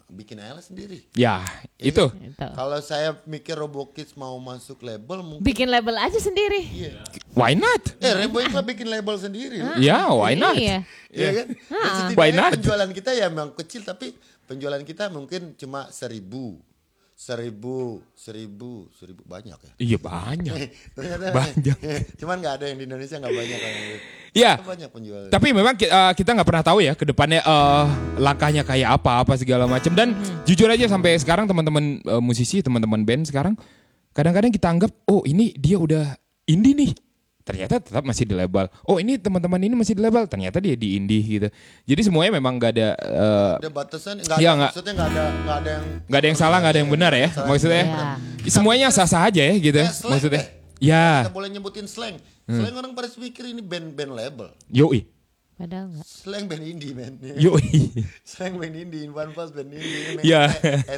Speaker 3: Bikin aja lah sendiri.
Speaker 1: Ya, itu.
Speaker 2: Gitu.
Speaker 3: Kalau saya mikir Robokids mau masuk label mungkin
Speaker 2: Bikin label aja sendiri.
Speaker 3: iya.
Speaker 1: Why not?
Speaker 3: Eh, Rainbow Equal bikin label sendiri. loh.
Speaker 1: Ya, why not?
Speaker 2: Iya.
Speaker 3: Iya kan? Dan setidaknya
Speaker 1: Why not?
Speaker 3: penjualan kita ya memang kecil tapi penjualan kita mungkin cuma seribu, seribu, seribu, seribu banyak ya.
Speaker 1: Iya banyak.
Speaker 3: Ternyata
Speaker 1: Banyak.
Speaker 3: Cuman nggak ada yang di Indonesia nggak banyak orang yang-
Speaker 1: Iya.
Speaker 3: Ternyata Banyak penjualan.
Speaker 1: Tapi memang ki- eh, kita nggak pernah tahu ya ke depannya eh, langkahnya kayak apa apa segala macam dan jujur aja sampai sekarang teman-teman eh, musisi, teman-teman band sekarang kadang-kadang kita anggap oh ini dia udah indie nih. Ternyata tetap masih di label. Oh ini teman-teman ini masih di label. Ternyata dia di indie gitu. Jadi semuanya memang nggak ada eh,
Speaker 3: ada batasan nggak
Speaker 1: Iya,
Speaker 3: ada
Speaker 1: nggak.
Speaker 3: maksudnya nggak ada nggak ada yang
Speaker 1: nggak ada yang salah, nggak ada yang benar ya. Maksudnya
Speaker 2: Iya.
Speaker 1: semuanya sah-sah aja ya gitu.
Speaker 3: Kayak slang
Speaker 1: Maksudnya.
Speaker 3: deh.
Speaker 1: Ya, Hmm.
Speaker 3: kita boleh nyebutin slang. Slang orang pada pikir ini band-band label.
Speaker 1: yoi.
Speaker 2: Padahal enggak.
Speaker 3: Slang band indie men
Speaker 1: Yoi.
Speaker 3: Slang band indie One Pulse band indie men. Eh,
Speaker 1: Iya.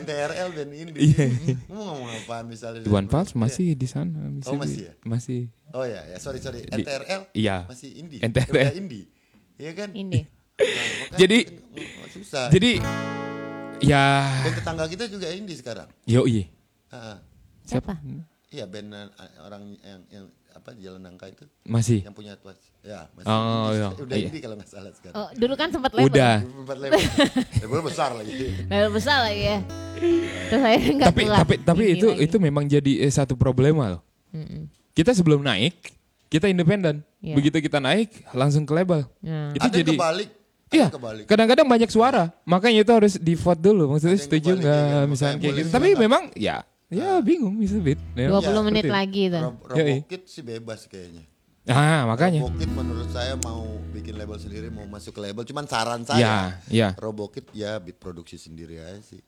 Speaker 3: NTRL band indie Mau ngomong apaan misalnya
Speaker 1: One Pulse masih di sana. Masih
Speaker 3: Oh, masih
Speaker 1: di-
Speaker 3: ya?
Speaker 1: Masih.
Speaker 3: Oh ya ya sorry sorry NTRL
Speaker 1: iya.
Speaker 3: Masih indie
Speaker 1: NTRL.
Speaker 3: Udah indie Iya kan
Speaker 2: Ini.
Speaker 3: Nah, makanya
Speaker 1: Jadi-
Speaker 3: Susah Jadi
Speaker 1: Jadi ya
Speaker 3: Band tetangga kita juga indie sekarang
Speaker 1: yoi.
Speaker 3: Ah,
Speaker 2: Siapa?
Speaker 3: Iya band eh, orang yang, yang apa Jalan Nangka itu
Speaker 1: Masih.
Speaker 3: yang punya tuas ya masih
Speaker 1: Oh,
Speaker 3: indie.
Speaker 1: iya.
Speaker 3: udah
Speaker 1: Iya.
Speaker 3: indie kalau nggak salah sekarang
Speaker 2: Oh, dulu kan sempat label.
Speaker 1: Udah.
Speaker 3: empat level level besar lagi
Speaker 2: Label besar lagi ya. Terus saya enggak
Speaker 1: Tapi tapi tapi itu itu memang jadi eh, satu problema loh. Kita sebelum naik, kita independen.
Speaker 2: Iya.
Speaker 1: Begitu kita naik, langsung ke label.
Speaker 2: Ya.
Speaker 1: Itu
Speaker 3: ada
Speaker 1: jadi
Speaker 3: yang kebalik ada
Speaker 1: Iya,
Speaker 3: yang kebalik
Speaker 2: Gitu.
Speaker 1: kadang-kadang banyak suara, makanya itu harus di vote dulu. Maksudnya
Speaker 3: Ada yang
Speaker 1: setuju
Speaker 3: kebalik, iya,
Speaker 1: nggak
Speaker 3: makanya
Speaker 1: misalnya kayak
Speaker 3: boleh
Speaker 1: gitu. Tapi
Speaker 3: silakan.
Speaker 1: memang ya, ya bingung bisa bit.
Speaker 2: 20
Speaker 1: Ya.
Speaker 3: Iya,
Speaker 2: menit
Speaker 1: seperti itu.
Speaker 2: lagi itu.
Speaker 3: Rob-
Speaker 1: Yoi.
Speaker 3: Robokit sih bebas kayaknya
Speaker 1: Ah, iya. makanya.
Speaker 3: Robokit menurut saya mau bikin label sendiri mau masuk ke label cuman saran
Speaker 1: Ya,
Speaker 3: saya
Speaker 1: ya.
Speaker 3: Robokit ya beat produksi sendiri aja sih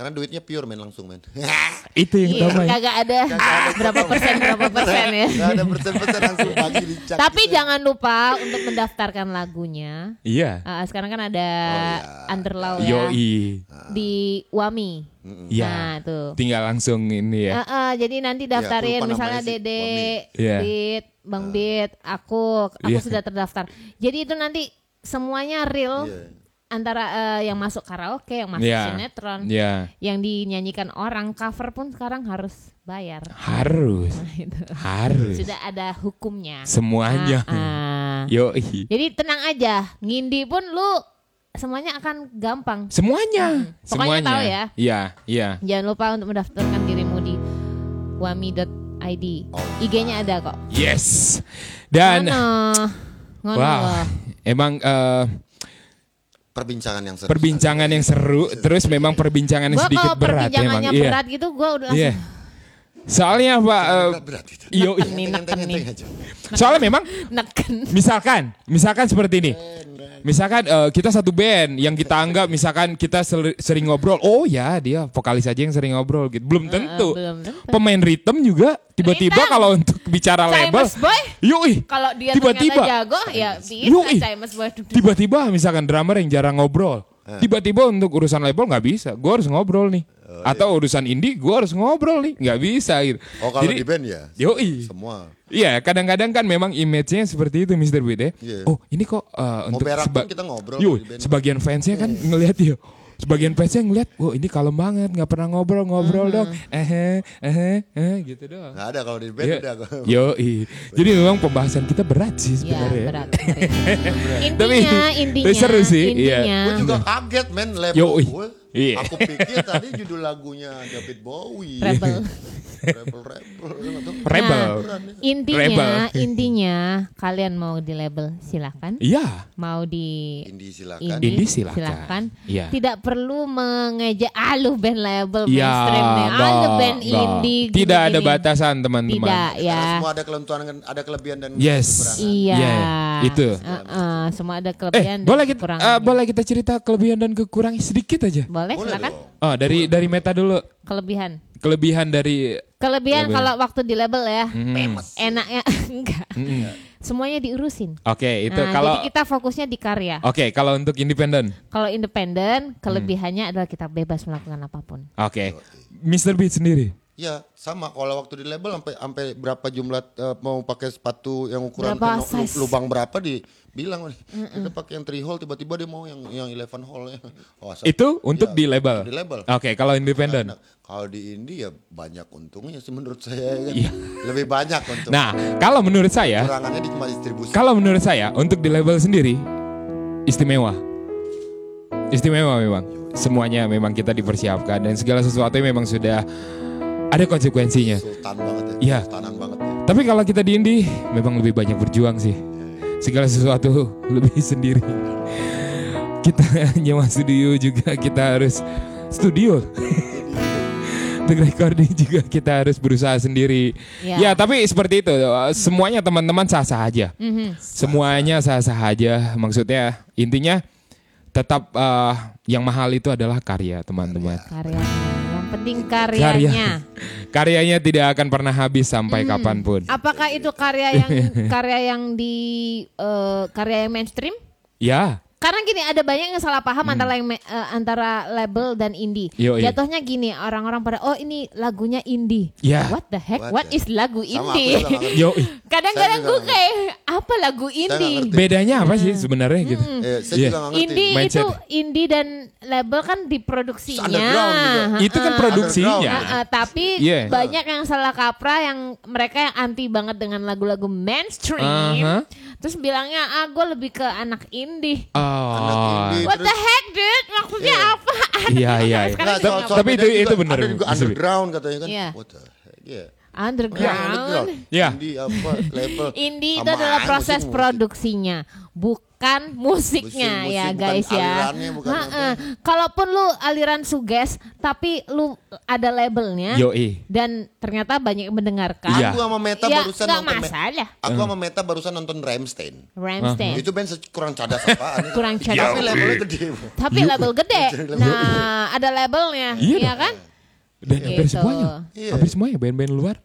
Speaker 3: karena duitnya pure men langsung men
Speaker 1: Itu
Speaker 2: Iya,
Speaker 1: yang utama. ya.
Speaker 2: kagak ada berapa persen berapa persen ya.
Speaker 3: Nggak ada persen-persen langsung pagi dicak
Speaker 2: Tapi
Speaker 3: gitu.
Speaker 2: jangan lupa untuk mendaftarkan lagunya.
Speaker 1: Iya.
Speaker 2: Ah, sekarang kan ada
Speaker 3: Oh, iya. Ah.
Speaker 2: underlaw ya
Speaker 1: Yoi.
Speaker 2: di Wami.
Speaker 1: Iya.
Speaker 2: Nah, tuh.
Speaker 1: Tinggal langsung ini ya.
Speaker 2: Ah, ah, jadi nanti
Speaker 3: Ya, aku
Speaker 2: daftarin
Speaker 3: lupa
Speaker 2: misalnya
Speaker 3: namanya sih, Ah.
Speaker 2: Dede,
Speaker 1: Wami. Iya.
Speaker 2: Bit, Bang Bit, aku, aku
Speaker 1: Iya.
Speaker 2: sudah terdaftar. Jadi itu nanti semuanya real
Speaker 3: Iya.
Speaker 2: antara eh, yang masuk karaoke, yang masuk
Speaker 1: Iya.
Speaker 2: sinetron,
Speaker 1: Iya.
Speaker 2: yang dinyanyikan orang cover pun sekarang harus bayar.
Speaker 1: Harus.
Speaker 2: Nah, itu.
Speaker 1: Harus.
Speaker 2: Sudah ada hukumnya.
Speaker 1: Semuanya.
Speaker 2: Ah, ah.
Speaker 1: Ya. Yoi.
Speaker 2: Jadi tenang aja, ngindi pun lu semuanya akan gampang.
Speaker 1: Semuanya.
Speaker 2: Hmm. Pokoknya
Speaker 1: Semuanya.
Speaker 2: tahu ya.
Speaker 1: Iya, iya.
Speaker 2: Jangan lupa untuk mendaftarkan dirimu di wami.id. IG-nya ada kok.
Speaker 1: Yes. Oh, iya. Dan
Speaker 2: Ngono. Ngono
Speaker 1: wow.
Speaker 2: loh.
Speaker 1: Emang eh,
Speaker 3: perbincangan yang seru
Speaker 1: perbincangan yang seru terus memang perbincangan yang
Speaker 2: Gua
Speaker 1: sedikit
Speaker 2: kalau
Speaker 1: berat memang.
Speaker 2: perbincangannya
Speaker 1: Iya.
Speaker 2: berat gitu gua udah langsung
Speaker 1: Iya. Soalnya Pak eh,
Speaker 3: berat, berat itu
Speaker 1: Yo,
Speaker 2: Nih, neken nih.
Speaker 3: enteng-enteng aja
Speaker 1: soalnya memang
Speaker 2: neken.
Speaker 1: misalkan, misalkan seperti ini. Misalkan eh, kita satu band yang kita anggap misalkan kita sel- sering ngobrol, oh ya dia vokalis aja yang sering ngobrol gitu. Belum tentu.
Speaker 2: Ah, belum tentu.
Speaker 1: Pemain ritme juga tiba-tiba
Speaker 2: Rhythm.
Speaker 1: kalau untuk bicara label,
Speaker 2: Chinese boy.
Speaker 1: yui.
Speaker 2: Kalau dia
Speaker 1: Tiba-tiba.
Speaker 2: ternyata jago ya
Speaker 1: Yoi.
Speaker 2: bisa Chinese boy. Duduk.
Speaker 1: Tiba-tiba misalkan drummer yang jarang ngobrol.
Speaker 3: Ah.
Speaker 1: Tiba-tiba untuk urusan label nggak bisa, gue harus ngobrol nih. Atau urusan indie, gue harus ngobrol nih, nggak bisa gitu.
Speaker 3: iya. Oh kalau
Speaker 1: Jadi-
Speaker 3: di band ya?
Speaker 1: Yoi.
Speaker 3: Semua.
Speaker 1: Iya, kadang-kadang kan memang image-nya seperti itu Mr. Bede.
Speaker 3: Iya.
Speaker 1: Oh, ini kok uh,
Speaker 3: Mau
Speaker 1: untuk
Speaker 3: berak
Speaker 1: seba-
Speaker 3: pun kita ngobrol Iya.
Speaker 1: Yo,
Speaker 3: di band.
Speaker 1: sebagian fansnya kan ngelihat ya. Sebagian fansnya ngelihat, "Wah, ini kalem banget, nggak pernah ngobrol, ngobrol dong."
Speaker 3: Hmm.
Speaker 1: Eh, eh, eh, gitu doang.
Speaker 3: Nggak ada kalau di
Speaker 1: Iya.
Speaker 3: band udah.
Speaker 1: Yo, jadi memang pembahasan kita berat sih
Speaker 2: Ya,
Speaker 1: sebenarnya.
Speaker 2: berat. intinya, intinya,
Speaker 1: tapi seru sih, iya.
Speaker 2: intinya.
Speaker 3: Gue juga kaget men label
Speaker 1: Yoi.
Speaker 3: gue.
Speaker 1: Iya.
Speaker 3: Aku pikir tadi judul lagunya David Bowie.
Speaker 2: Rebel.
Speaker 3: Rebel. Rebel.
Speaker 1: Rebel.
Speaker 2: Nah, intinya,
Speaker 1: Rebel.
Speaker 2: intinya kalian mau di label silakan,
Speaker 1: Iya.
Speaker 2: mau di
Speaker 3: Indie silakan.
Speaker 2: ini
Speaker 1: Indie silakan. Iya.
Speaker 2: Tidak perlu mengejek ah lu band label
Speaker 1: Iya,
Speaker 2: mainstream nih. Ah lu
Speaker 1: nggak,
Speaker 2: band
Speaker 1: nggak.
Speaker 2: indie. gini,
Speaker 1: Tidak ada
Speaker 2: gini.
Speaker 1: batasan, teman-teman. Eh,
Speaker 2: Tidak ya.
Speaker 3: Karena semua ada kelentuan dan ada kelebihan dan
Speaker 1: Yes.
Speaker 3: kekurangan.
Speaker 2: Iya.
Speaker 1: Iya, itu.
Speaker 2: Heeh, semua ada
Speaker 1: Eh,
Speaker 2: kelebihan
Speaker 1: boleh
Speaker 2: dan
Speaker 1: kita
Speaker 2: kekurangan.
Speaker 1: eh, boleh kita cerita kelebihan dan kekurangan sedikit aja.
Speaker 2: Boleh,
Speaker 3: Boleh
Speaker 2: Iya, silakan.
Speaker 3: dong.
Speaker 1: Oh, dari dari meta dulu.
Speaker 2: Kelebihan.
Speaker 1: Kelebihan dari
Speaker 2: Kelebihan
Speaker 1: Kelebihan. Mm-hmm.
Speaker 2: kalau waktu di label ya.
Speaker 3: Famous.
Speaker 2: Enaknya enggak. Semuanya diurusin.
Speaker 1: Oke, Mm-hmm. itu
Speaker 2: Nah,
Speaker 1: kalau Oh.
Speaker 2: jadi kita fokusnya di karya.
Speaker 1: Oke, kalau untuk independen.
Speaker 2: Kalau
Speaker 1: Mm.
Speaker 2: independen, kelebihannya adalah kita bebas melakukan apapun.
Speaker 1: Oke. Mr. Beat sendiri.
Speaker 3: Ya sama kalau waktu di label sampai sampai berapa jumlah eh, mau pakai sepatu yang ukuran
Speaker 2: Berapa
Speaker 3: keno- lu-
Speaker 2: size?
Speaker 3: lubang berapa dibilang kita pakai yang 3 hole tiba-tiba dia mau yang yang 11 hole oh, asal-
Speaker 1: Itu untuk
Speaker 3: Iya,
Speaker 1: di label.
Speaker 3: di label.
Speaker 1: Oke, kalau independen.
Speaker 3: Nah, kalau di India banyak untungnya sih menurut saya ya kan. lebih banyak untung.
Speaker 1: Iya. Nah, kalau menurut saya,
Speaker 3: Kurangannya di cuma distribusi.
Speaker 1: kalau menurut saya untuk di label sendiri istimewa. Istimewa memang. Semuanya memang kita dipersiapkan dan segala sesuatu memang sudah ada konsekuensinya.
Speaker 3: Sultan banget ya.
Speaker 1: Iya.
Speaker 3: Sultanan banget ya.
Speaker 1: Tapi kalau kita di indie memang lebih banyak berjuang sih. Segala sesuatu lebih sendiri. Kita nyewa studio juga kita harus studio. Untuk recording juga kita harus berusaha sendiri.
Speaker 2: Ya.
Speaker 1: Ya, tapi seperti itu. Semuanya teman-teman sah-sah aja. Semuanya sah-sah aja. Maksudnya intinya tetap eh, yang mahal itu adalah karya, teman-teman.
Speaker 2: Karyanya. Yang penting karyanya.
Speaker 1: Karyanya tidak akan pernah habis sampai kapanpun.
Speaker 2: Apakah itu karya yang karya yang di eh, karya yang mainstream?
Speaker 1: Ya,
Speaker 2: Karena gini ada banyak yang salah paham antara yang me- eh, antara label dan indie.
Speaker 1: Hmm. Yoi.
Speaker 2: Jatuhnya gini orang-orang pada oh ini lagunya indie.
Speaker 1: Ya.
Speaker 2: What the heck?
Speaker 3: What
Speaker 2: What,
Speaker 3: the-
Speaker 2: is lagu
Speaker 3: Sama
Speaker 2: indie?
Speaker 3: aku juga nggak ngerti.
Speaker 1: yo ih.
Speaker 2: Kadang-kadang
Speaker 3: Saya juga
Speaker 2: gue
Speaker 3: nggak
Speaker 2: kayak apa lagu indie?
Speaker 3: ngerti.
Speaker 1: bedanya apa
Speaker 2: Hmm.
Speaker 1: sih sebenarnya gitu?
Speaker 3: Eh, saya
Speaker 1: Iya.
Speaker 3: juga nggak ngerti.
Speaker 2: Indie
Speaker 1: Mindset.
Speaker 2: itu indie dan label kan diproduksinya.
Speaker 3: Underground gitu.
Speaker 1: Itu kan produksinya.
Speaker 2: Ah, ah, tapi
Speaker 1: Yeah.
Speaker 2: banyak yang salah kaprah yang mereka yang anti banget dengan lagu-lagu mainstream.
Speaker 1: Aha.
Speaker 2: Terus bilangnya ah gue lebih ke anak indie.
Speaker 3: Anak
Speaker 1: Oh,
Speaker 3: indie,
Speaker 2: What
Speaker 3: terus-
Speaker 2: the heck dude? Maksudnya
Speaker 3: Yeah.
Speaker 2: apa?
Speaker 1: iya iya. iya.
Speaker 2: Sekarang
Speaker 3: Nggak, soal- soal
Speaker 1: Tapi itu-
Speaker 3: bedanya
Speaker 1: itu bener,
Speaker 3: Ada juga
Speaker 1: Mas Ibi.
Speaker 3: underground katanya kan.
Speaker 2: Iya.
Speaker 3: What the heck, yeah. Iya,
Speaker 2: Underground.
Speaker 3: underground.
Speaker 1: Iya.
Speaker 3: Indie apa label?
Speaker 2: Indie itu
Speaker 3: Apaan
Speaker 2: adalah proses
Speaker 3: musik-musik?
Speaker 2: produksinya, bukan musiknya
Speaker 3: Musik-musik,
Speaker 2: ya
Speaker 3: bukan
Speaker 2: guys ya.
Speaker 3: alirannya, bukan
Speaker 2: Ha-ha.
Speaker 3: apa.
Speaker 2: Kalaupun lu aliran suges, tapi lu ada labelnya
Speaker 1: Yoi.
Speaker 2: dan ternyata banyak yang mendengarkan.
Speaker 1: Iya. Hmm.
Speaker 3: Aku sama Meta
Speaker 2: Ya,
Speaker 3: barusan
Speaker 2: nggak
Speaker 3: nonton.
Speaker 2: masalah.
Speaker 3: Aku sama Meta barusan nonton Ramstein.
Speaker 2: Rammstein.
Speaker 3: Itu band se- kurang cadas apaan. ya.
Speaker 2: Kurang cadas.
Speaker 3: Tapi labelnya
Speaker 1: Iya.
Speaker 3: gede.
Speaker 2: Tapi label gede. Nah, ada labelnya,
Speaker 1: Iya
Speaker 2: ya
Speaker 1: dong.
Speaker 2: kan?
Speaker 1: Dan hampir
Speaker 2: Gitu.
Speaker 1: semuanya,
Speaker 3: Iya.
Speaker 1: hampir semuanya band-band luar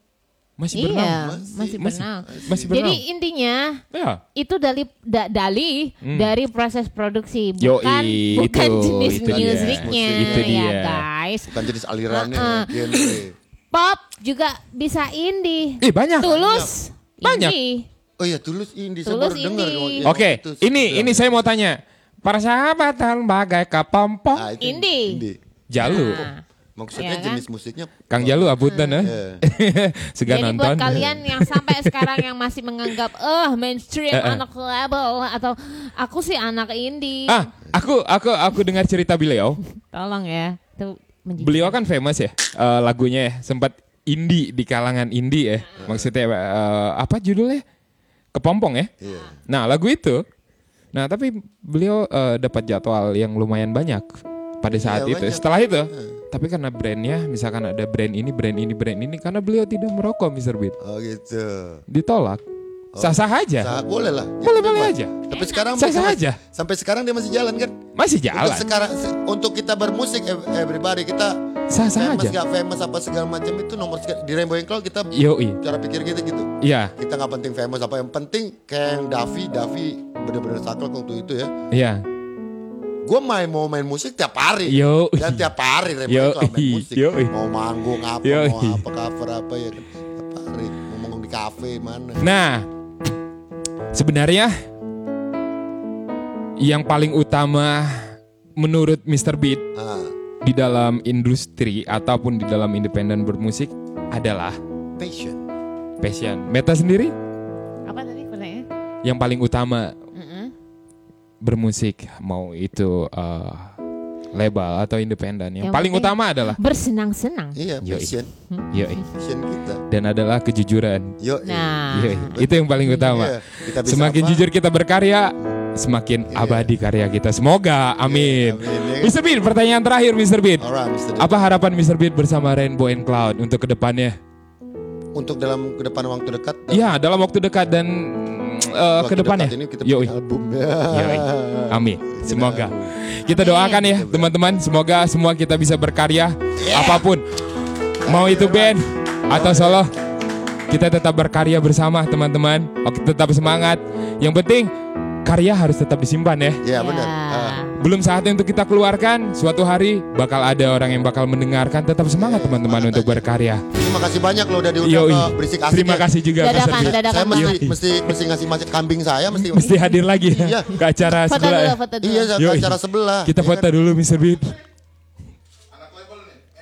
Speaker 1: masih
Speaker 2: Iya,
Speaker 1: bernaung.
Speaker 2: masih,
Speaker 1: Masih-
Speaker 2: benang.
Speaker 1: masih
Speaker 2: Jadi
Speaker 1: bernaung.
Speaker 2: intinya
Speaker 3: Iya.
Speaker 1: Ya.
Speaker 2: itu dari da- dali dari proses produksi
Speaker 1: Hmm. Yoi,
Speaker 2: bukan bukan
Speaker 1: itu-
Speaker 2: jenis
Speaker 1: itu dia.
Speaker 2: musiknya
Speaker 1: Itu
Speaker 2: ya
Speaker 1: dia.
Speaker 2: guys
Speaker 3: Bukan jenis alirannya, genre.
Speaker 2: pop juga bisa indie
Speaker 1: Ih, banyak.
Speaker 2: tulus
Speaker 1: Iya, Banyak.
Speaker 2: indie
Speaker 3: Oh iya, tulus indie. Saya
Speaker 2: Tulus
Speaker 3: baru dengar.
Speaker 2: indie.
Speaker 3: yang- yang
Speaker 1: Oke,
Speaker 3: Iya, itu Ah,
Speaker 1: ini ini
Speaker 3: sebenarnya.
Speaker 1: saya mau tanya. Para sahabat dan bagai
Speaker 3: Ah,
Speaker 1: kapompong
Speaker 3: itu
Speaker 2: Indie.
Speaker 1: Jalu.
Speaker 2: Nah, Iya
Speaker 3: Maksudnya
Speaker 2: kan?
Speaker 3: jenis musiknya
Speaker 1: Kang Jalu abutan ya.
Speaker 3: Iya.
Speaker 2: jadi
Speaker 1: Segan nonton.
Speaker 2: buat kalian yang sampai sekarang yang masih menganggap eh mainstream
Speaker 1: Eh, eh.
Speaker 2: anak label atau aku sih anak indie
Speaker 1: Ah, aku aku aku dengar cerita beliau.
Speaker 2: tolong ya itu menjijikkan.
Speaker 1: Beliau kan famous ya eh, lagunya ya, sempat indie di kalangan indie ya. Maksudnya eh, apa judulnya? Kepompong ya.
Speaker 3: Iya.
Speaker 1: Nah, lagu itu. Nah, tapi beliau eh, dapat jadwal yang lumayan banyak pada saat
Speaker 3: Iya,
Speaker 1: itu.
Speaker 3: banyak.
Speaker 1: Setelah itu, tapi karena brandnya, misalkan ada brand ini, brand ini, brand ini, karena beliau tidak merokok, Mr. Beat,
Speaker 3: Oh gitu.
Speaker 1: ditolak. Sah-sah aja.
Speaker 3: Oh. Sah, boleh lah.
Speaker 1: Boleh-boleh Ya. aja.
Speaker 3: Tapi sekarang
Speaker 1: Sah-sah
Speaker 3: sampai-
Speaker 1: aja.
Speaker 3: Sampai sekarang dia masih jalan kan?
Speaker 1: Masih
Speaker 3: Untuk
Speaker 1: jalan.
Speaker 3: sekarang se- untuk kita bermusik ev- everybody kita
Speaker 1: Sah-sah
Speaker 3: famous
Speaker 1: aja.
Speaker 3: nggak famous apa segala macam itu nomor sekian. di Rainbow Cloud kita
Speaker 1: Yoi.
Speaker 3: cara pikir gitu gitu.
Speaker 1: Iya,
Speaker 3: Kita nggak penting famous apa yang penting kayak yang Davi Davi bener-bener saklek waktu itu ya.
Speaker 1: iya.
Speaker 3: Gue main mau main musik tiap hari
Speaker 1: Yo.
Speaker 3: dan Kan tiap hari
Speaker 1: Yo.
Speaker 3: Rainbow Cloud main musik.
Speaker 1: Yo.
Speaker 3: Mau manggung apa
Speaker 1: Yo.
Speaker 3: mau apa cover apa ya kan tiap hari mau manggung di kafe mana.
Speaker 1: Nah, sebenarnya yang paling utama menurut Mr. Beat
Speaker 3: Ah,
Speaker 1: di dalam industri ataupun di dalam independen bermusik adalah
Speaker 3: patient.
Speaker 1: passion. Meta sendiri
Speaker 2: apa tadi pertanyaannya
Speaker 1: yang paling utama bermusik mau itu eh, label atau independen yang,
Speaker 2: Yang
Speaker 1: paling
Speaker 2: penting-
Speaker 1: utama adalah
Speaker 2: bersenang-senang
Speaker 3: Iya,
Speaker 1: Yo.
Speaker 3: passion.
Speaker 1: yoi
Speaker 3: Passion kita.
Speaker 1: dan adalah kejujuran.
Speaker 3: Yo.
Speaker 2: nah
Speaker 1: Yoi, itu yang paling utama.
Speaker 3: Iya, kita bisa
Speaker 1: Semakin
Speaker 3: apa? Iya.
Speaker 1: jujur kita berkarya, semakin abadi karya kita. Semoga, amin.
Speaker 3: amin, ya kan?
Speaker 1: Mr. Beat, pertanyaan terakhir Mr. Beat.
Speaker 3: Alright, Mr. Dave.
Speaker 1: Apa harapan Mr. Beat bersama Rainbow and Cloud untuk kedepannya?
Speaker 3: untuk dalam ke depan waktu dekat dalam
Speaker 1: Iya, dalam waktu dekat dan mm, eh,
Speaker 3: waktu
Speaker 1: kedepannya.
Speaker 3: dekat ini kita Iya.
Speaker 1: Yoi.
Speaker 3: bikin album ya.
Speaker 1: Yoi. Amin. Semoga. Kita doakan
Speaker 3: Iya,
Speaker 1: ya teman-teman. Semoga semua kita bisa berkarya apapun. Mau itu band atau solo. Kita tetap berkarya bersama teman-teman. Oke, tetap semangat. Yang penting karya harus tetap disimpan ya.
Speaker 3: Iya benar.
Speaker 2: Ya.
Speaker 3: Ah,
Speaker 1: Belum saatnya untuk kita keluarkan. Suatu hari bakal ada orang yang bakal mendengarkan. Tetap semangat teman-teman untuk berkarya.
Speaker 3: terima kasih banyak lo udah diundang
Speaker 1: Yoi.
Speaker 3: ke berisik asik.
Speaker 1: Terima
Speaker 3: ya.
Speaker 1: kasih juga Mas
Speaker 2: Dadakan,
Speaker 1: Sergi.
Speaker 2: dadakan.
Speaker 3: Saya mesti,
Speaker 2: banget.
Speaker 3: mesti mesti ngasih makan kambing saya mesti
Speaker 1: Mesti hadir lagi ya
Speaker 3: Iya.
Speaker 1: ke acara
Speaker 2: foto
Speaker 1: sebelah.
Speaker 2: dulu
Speaker 1: ya.
Speaker 2: foto dulu
Speaker 3: Iya, ke
Speaker 1: Yoi.
Speaker 3: acara sebelah.
Speaker 1: Kita
Speaker 3: ya kan?
Speaker 1: foto dulu Mr. Beat.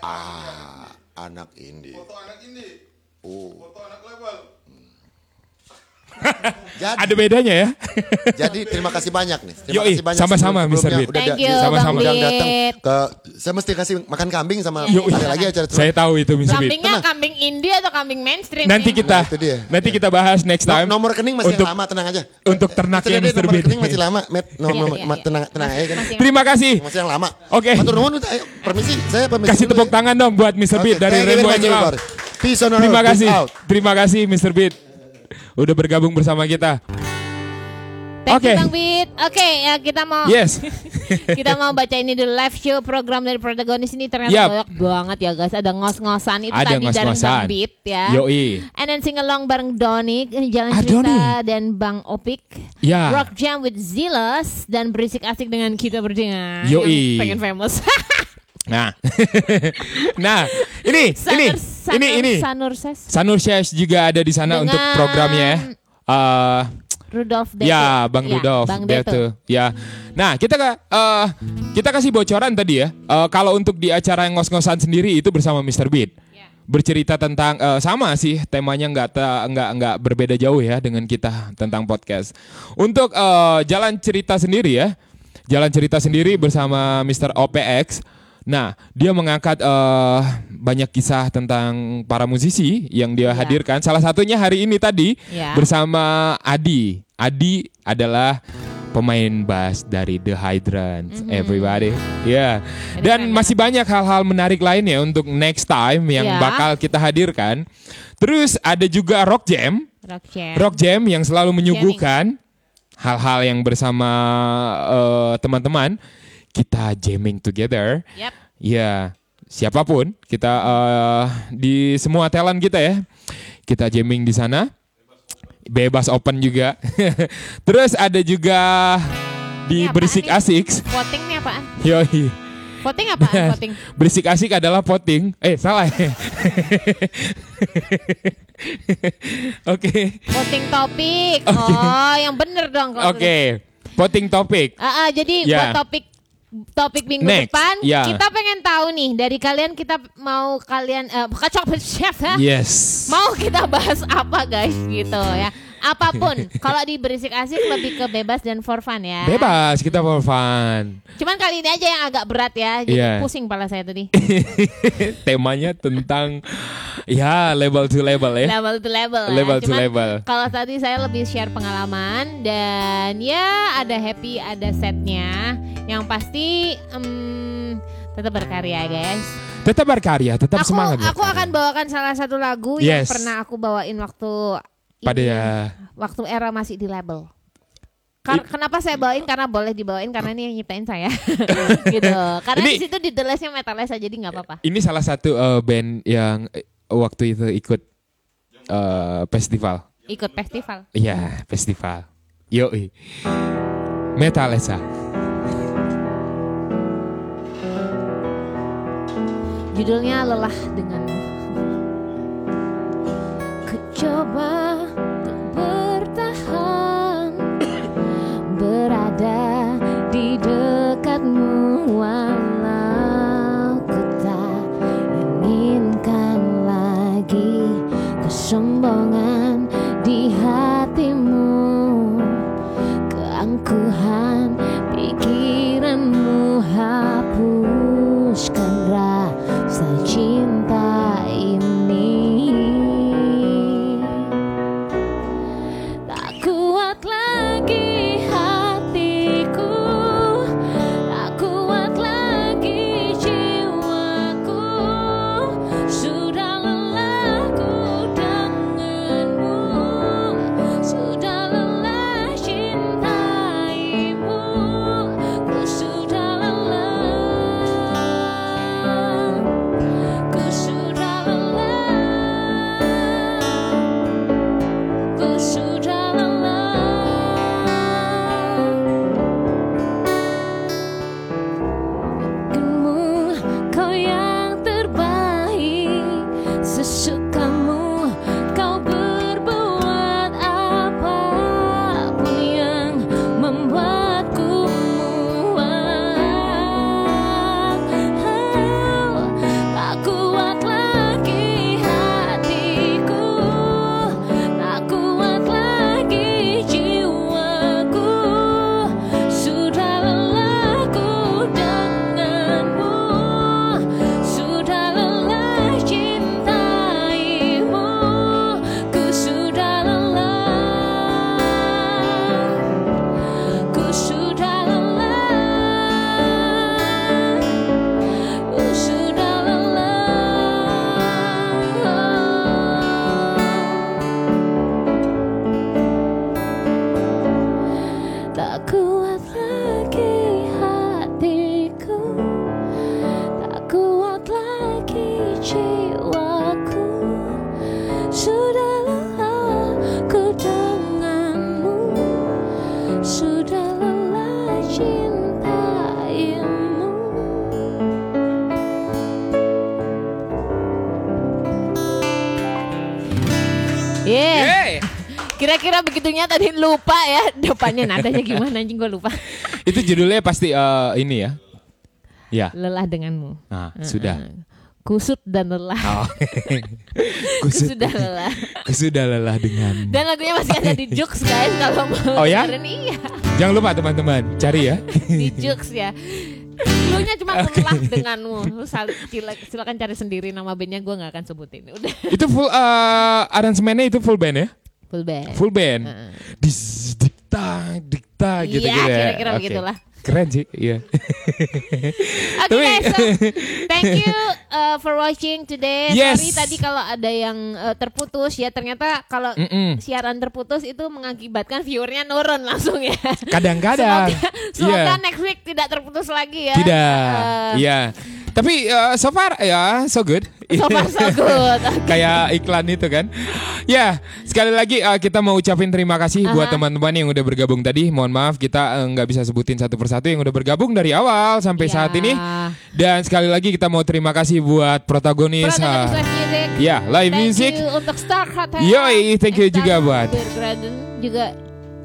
Speaker 3: Ah, anak indie. Foto anak indie. Oh. Foto anak label. Hmm. Jadi,
Speaker 1: Ada bedanya ya.
Speaker 3: jadi terima kasih banyak nih. Terima
Speaker 1: Yoi,
Speaker 3: kasih banyak
Speaker 1: sama-sama,
Speaker 3: sebelum-
Speaker 1: Mr.
Speaker 3: sebelumnya
Speaker 1: Bit.
Speaker 3: udah
Speaker 2: Thank
Speaker 3: da-
Speaker 2: you,
Speaker 1: Sama-sama.
Speaker 2: Bang
Speaker 3: Udah datang
Speaker 2: Bit.
Speaker 3: ke saya mesti kasih makan kambing sama
Speaker 1: Yoi.
Speaker 3: ada lagi acara
Speaker 1: Saya tahu itu Mr. Beat.
Speaker 2: Kambingnya kambing India atau kambing mainstream
Speaker 1: Nanti
Speaker 2: nih?
Speaker 1: kita
Speaker 3: Nah, itu dia.
Speaker 1: nanti kita bahas next
Speaker 3: No-
Speaker 1: time.
Speaker 3: nomor rekening masih
Speaker 1: untuk,
Speaker 3: yang lama, tenang aja.
Speaker 1: untuk ternaknya
Speaker 3: Sudah deh,
Speaker 1: Mr.
Speaker 3: nomor
Speaker 1: Beat.
Speaker 3: rekening masih lama, Matt. Nomor,
Speaker 2: Iya,
Speaker 3: nomor-
Speaker 2: iya,
Speaker 3: ma-
Speaker 2: iya.
Speaker 3: tenang, tenang aja kan.
Speaker 2: Masih-
Speaker 1: Terima kasih.
Speaker 3: Masih yang lama.
Speaker 1: Oke.
Speaker 3: Matur nuwun, Ustaz. ayo, permisi. Saya permisi.
Speaker 1: Kasih
Speaker 3: dulu
Speaker 1: tepuk
Speaker 3: ya.
Speaker 1: tangan dong buat Mr.
Speaker 3: Oke,
Speaker 1: Beat dari
Speaker 3: thank you
Speaker 1: Rainbow
Speaker 3: very much,
Speaker 1: Angel.
Speaker 3: everybody. Peace on earth.
Speaker 1: Terima
Speaker 3: peace
Speaker 1: kasih.
Speaker 3: out.
Speaker 1: Terima kasih Mr. Beat. Udah bergabung bersama kita.
Speaker 2: Thank
Speaker 1: Oke.
Speaker 2: you Bang Bit. Oke, ya kita mau
Speaker 1: Yes.
Speaker 2: kita mau baca ini dulu live show program dari protagonis ini ternyata
Speaker 1: Yap.
Speaker 2: banyak banget ya guys. Ada ngos-ngosan itu tadi
Speaker 1: Ada
Speaker 2: dari Bang
Speaker 1: ngos-ngosan.
Speaker 2: Bit ya.
Speaker 1: Yoi.
Speaker 2: And then sing along bareng Doni, Jalan
Speaker 1: Ah,
Speaker 2: Cerita dan Bang Opik.
Speaker 1: Ya.
Speaker 2: Rock Jam with Zilas dan berisik asik dengan kita bertiga.
Speaker 1: Yoi.
Speaker 2: Yang pengen famous.
Speaker 1: Nah. nah, ini ini
Speaker 2: Sanur-
Speaker 1: ini
Speaker 2: Sanur-
Speaker 1: ini
Speaker 2: Sanur Ses,
Speaker 1: Sanur Syes juga ada di sana untuk
Speaker 2: Dengan-
Speaker 1: programnya ya. Eh,
Speaker 2: Rudolf Detu.
Speaker 1: Ya, Bang Rudolf,
Speaker 2: Bang
Speaker 1: dia
Speaker 2: Detu.
Speaker 1: tuh. Ya. Nah, kita ka- eh, kita kasih bocoran tadi ya. Eh, kalau untuk di acara yang ngos-ngosan sendiri itu bersama Mr. Beat.
Speaker 2: Ya, Iya.
Speaker 1: Bercerita tentang eh, sama sih temanya nggak ta- nggak nggak berbeda jauh ya dengan kita tentang podcast. Untuk eh, jalan cerita sendiri ya. Jalan cerita sendiri bersama Mr. OPX. Nah, dia mengangkat eh, banyak kisah tentang para musisi yang dia
Speaker 2: Iya.
Speaker 1: hadirkan. Salah satunya hari ini tadi
Speaker 2: Iya.
Speaker 1: bersama Adi. Adi adalah pemain bass dari The Hydrants. Everybody, ya.
Speaker 2: Mhm.
Speaker 1: Dan
Speaker 2: keren
Speaker 1: masih banyak hal-hal menarik lainnya untuk next time yang
Speaker 2: Iya.
Speaker 1: bakal kita hadirkan. Terus ada juga Rock Jam.
Speaker 2: Rock Jam.
Speaker 1: Rock Jam yang selalu menyuguhkan hal-hal yang bersama eh, teman-teman kita jamming together.
Speaker 2: Yap.
Speaker 1: Ya, siapapun kita eh, di semua talent kita ya. Kita jamming di sana. Bebas open juga. Terus ada juga
Speaker 2: Ini
Speaker 1: di
Speaker 2: apaan
Speaker 1: Berisik
Speaker 2: nih?
Speaker 1: Asik.
Speaker 2: Voting nih apaan?
Speaker 1: Yoi.
Speaker 2: Voting apaan? Voting.
Speaker 1: Berisik Asik adalah voting. Eh, salah. ya? Oke.
Speaker 2: Voting topik. Oh, yang bener dong kalau
Speaker 1: Oke. Voting topik.
Speaker 2: Ah, ah, jadi
Speaker 1: Ya.
Speaker 2: buat topik topik minggu
Speaker 1: Next,
Speaker 2: depan
Speaker 1: ya.
Speaker 2: kita pengen tahu nih dari kalian kita mau kalian eh, kacau chef ya.
Speaker 1: Yes.
Speaker 2: Mau kita bahas apa guys gitu ya. Apapun, kalau di berisik asik lebih ke bebas dan for fun ya.
Speaker 1: Bebas, kita for fun.
Speaker 2: Cuman kali ini aja yang agak berat ya. Jadi
Speaker 1: Iya.
Speaker 2: pusing pala saya tadi.
Speaker 1: Temanya tentang ya label to label ya.
Speaker 2: level to level. ya.
Speaker 1: Level to
Speaker 2: Cuman
Speaker 1: level.
Speaker 2: Kalau tadi saya lebih share pengalaman dan ya ada happy, ada setnya. Yang pasti em, tetap berkarya guys.
Speaker 1: Tetap berkarya, tetap
Speaker 2: aku,
Speaker 1: semangat.
Speaker 2: Aku
Speaker 1: berkarya.
Speaker 2: akan bawakan salah satu lagu yang
Speaker 1: Yes.
Speaker 2: pernah aku bawain waktu
Speaker 1: pada
Speaker 2: ini,
Speaker 1: ya.
Speaker 2: waktu era masih di label. Kar- kenapa saya bawain? Karena boleh dibawain karena ini yang nyiptain saya. gitu. Karena
Speaker 1: Ini-
Speaker 2: di situ di The Last-nya Metalesa jadi nggak apa-apa.
Speaker 1: Ini salah satu eh, band yang eh, waktu itu ikut eh, festival.
Speaker 2: Ikut festival.
Speaker 1: Iya, festival. Yo. Metalesa.
Speaker 2: Judulnya Lelah Denganmu. Ku coba untuk bertahan Berada di dekatmu Walau ku tak inginkan lagi Kesombongan di hatimu keangkuhan pikiranmu hapuskan rasa cinta ini Tak kuat lagi hatiku Tak kuat lagi jiwaku Sudahlah aku denganmu Sudah lelah cintaimu Yeah.
Speaker 1: Yeay.
Speaker 2: Kira-kira begitunya tadi lupa ya depannya nadanya gimana anjing gue lupa.
Speaker 1: Itu judulnya pasti eh, ini ya. Ya.
Speaker 2: Lelah denganmu.
Speaker 1: Nah,
Speaker 2: Heeh.
Speaker 1: sudah.
Speaker 2: Kusut dan lelah.
Speaker 1: Oh. Kusut-
Speaker 2: Kusudah lelah.
Speaker 1: Kusudah lelah dengan.
Speaker 2: Dan lagunya masih ada di Jux guys kalau mau
Speaker 1: Oh ya?
Speaker 2: dengerin. Iya,
Speaker 1: Jangan lupa teman-teman, cari ya.
Speaker 2: di Jux ya. Dulunya cuma lelah denganmu. Lu sal- sila- silakan cari sendiri nama bandnya gue nggak akan sebutin. Udah
Speaker 1: itu full eh, aransemennya itu full band ya?
Speaker 2: full band.
Speaker 1: Full band.
Speaker 2: Heeh.
Speaker 1: Dis dikta dikta
Speaker 2: Iya,
Speaker 1: gitu gitu. ya.
Speaker 2: kira-kira
Speaker 1: Oke.
Speaker 2: begitulah.
Speaker 1: Keren sih, iya.
Speaker 2: Oke
Speaker 1: Tapi-
Speaker 2: guys, so, thank you uh, for watching today.
Speaker 1: Yes.
Speaker 2: Sorry tadi kalau ada yang uh, terputus ya ternyata kalau
Speaker 1: Mm-mm.
Speaker 2: siaran terputus itu mengakibatkan viewernya nurun langsung ya.
Speaker 1: Kadang-kadang.
Speaker 2: Semoga,
Speaker 1: Iya.
Speaker 2: semoga next week tidak terputus lagi ya.
Speaker 1: Tidak.
Speaker 2: Uh,
Speaker 1: Iya. Tapi eh, so far ya so good.
Speaker 2: So far so good. Oke.
Speaker 1: Kayak iklan itu kan. Ya, sekali lagi eh, kita mau ucapin terima kasih buat
Speaker 2: Aha.
Speaker 1: teman-teman yang udah bergabung tadi. Mohon maaf kita eh, nggak bisa sebutin satu persatu yang udah bergabung dari awal sampai
Speaker 2: Ya.
Speaker 1: saat ini. Dan sekali lagi kita mau terima kasih buat protagonis.
Speaker 2: Protagonis
Speaker 1: eh,
Speaker 2: live music.
Speaker 1: Ya, live
Speaker 2: Thank
Speaker 1: music.
Speaker 2: you untuk Star Hotel.
Speaker 1: Yoi, thank you
Speaker 2: Star
Speaker 1: juga buat-
Speaker 2: Bergraden juga.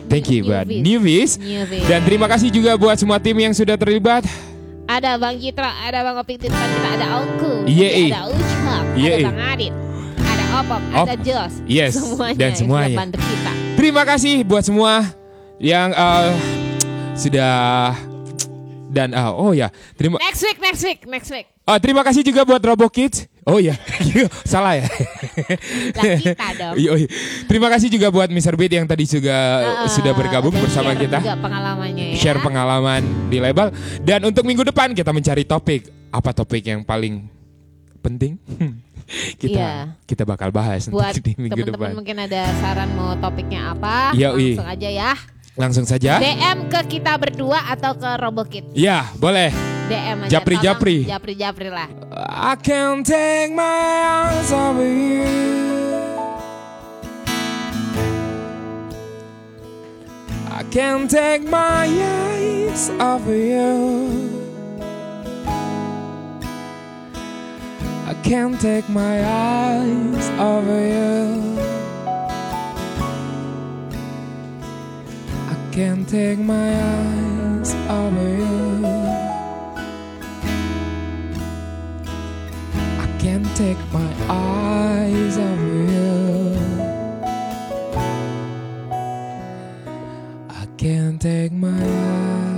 Speaker 1: Thank you buat
Speaker 2: Newbies.
Speaker 1: Newbies.
Speaker 2: Newbies.
Speaker 1: Dan terima kasih juga buat semua tim yang sudah terlibat.
Speaker 2: Ada Bang Citra, ada Bang Opik di depan kita, ada Ongku,
Speaker 1: Yeay.
Speaker 2: ada Ucap,
Speaker 1: Yeay.
Speaker 2: ada Bang Adit, ada Opop, ada
Speaker 1: Op-
Speaker 2: Jos,
Speaker 1: Yes,
Speaker 2: semuanya
Speaker 1: dan
Speaker 2: yang
Speaker 1: semuanya.
Speaker 2: sudah bantu kita.
Speaker 1: Terima kasih buat semua yang eh, sudah dan ah, oh ya terima
Speaker 2: Next week, next week, next week.
Speaker 1: ah, terima kasih juga buat Robo Kids. Oh ya salah ya.
Speaker 2: Lah kita dong.
Speaker 1: Yoi. terima kasih juga buat Mr. Beat yang tadi juga
Speaker 2: Ah,
Speaker 1: Eh, sudah bergabung
Speaker 2: dan
Speaker 1: bersama
Speaker 2: share
Speaker 1: kita.
Speaker 2: Juga pengalamannya ya.
Speaker 1: Share pengalaman di label dan untuk minggu depan kita mencari topik apa topik yang paling penting kita
Speaker 2: Iya.
Speaker 1: kita bakal bahas
Speaker 2: buat
Speaker 1: nanti di minggu
Speaker 2: teman-teman
Speaker 1: depan.
Speaker 2: mungkin ada saran mau topiknya apa,
Speaker 1: Yoi.
Speaker 2: langsung aja ya.
Speaker 1: Langsung saja.
Speaker 2: DM ke kita berdua atau ke Robokit.
Speaker 1: Ya, boleh.
Speaker 2: DM aja.
Speaker 1: Japri,
Speaker 2: tolong.
Speaker 1: Japri.
Speaker 2: Japri Japri lah.
Speaker 1: I can't take my eyes off of you. I can't take my eyes off of you. I can't take my eyes off of you. I can't take my eyes off of you. I can't take my eyes off you. I can't take my eyes. Mm.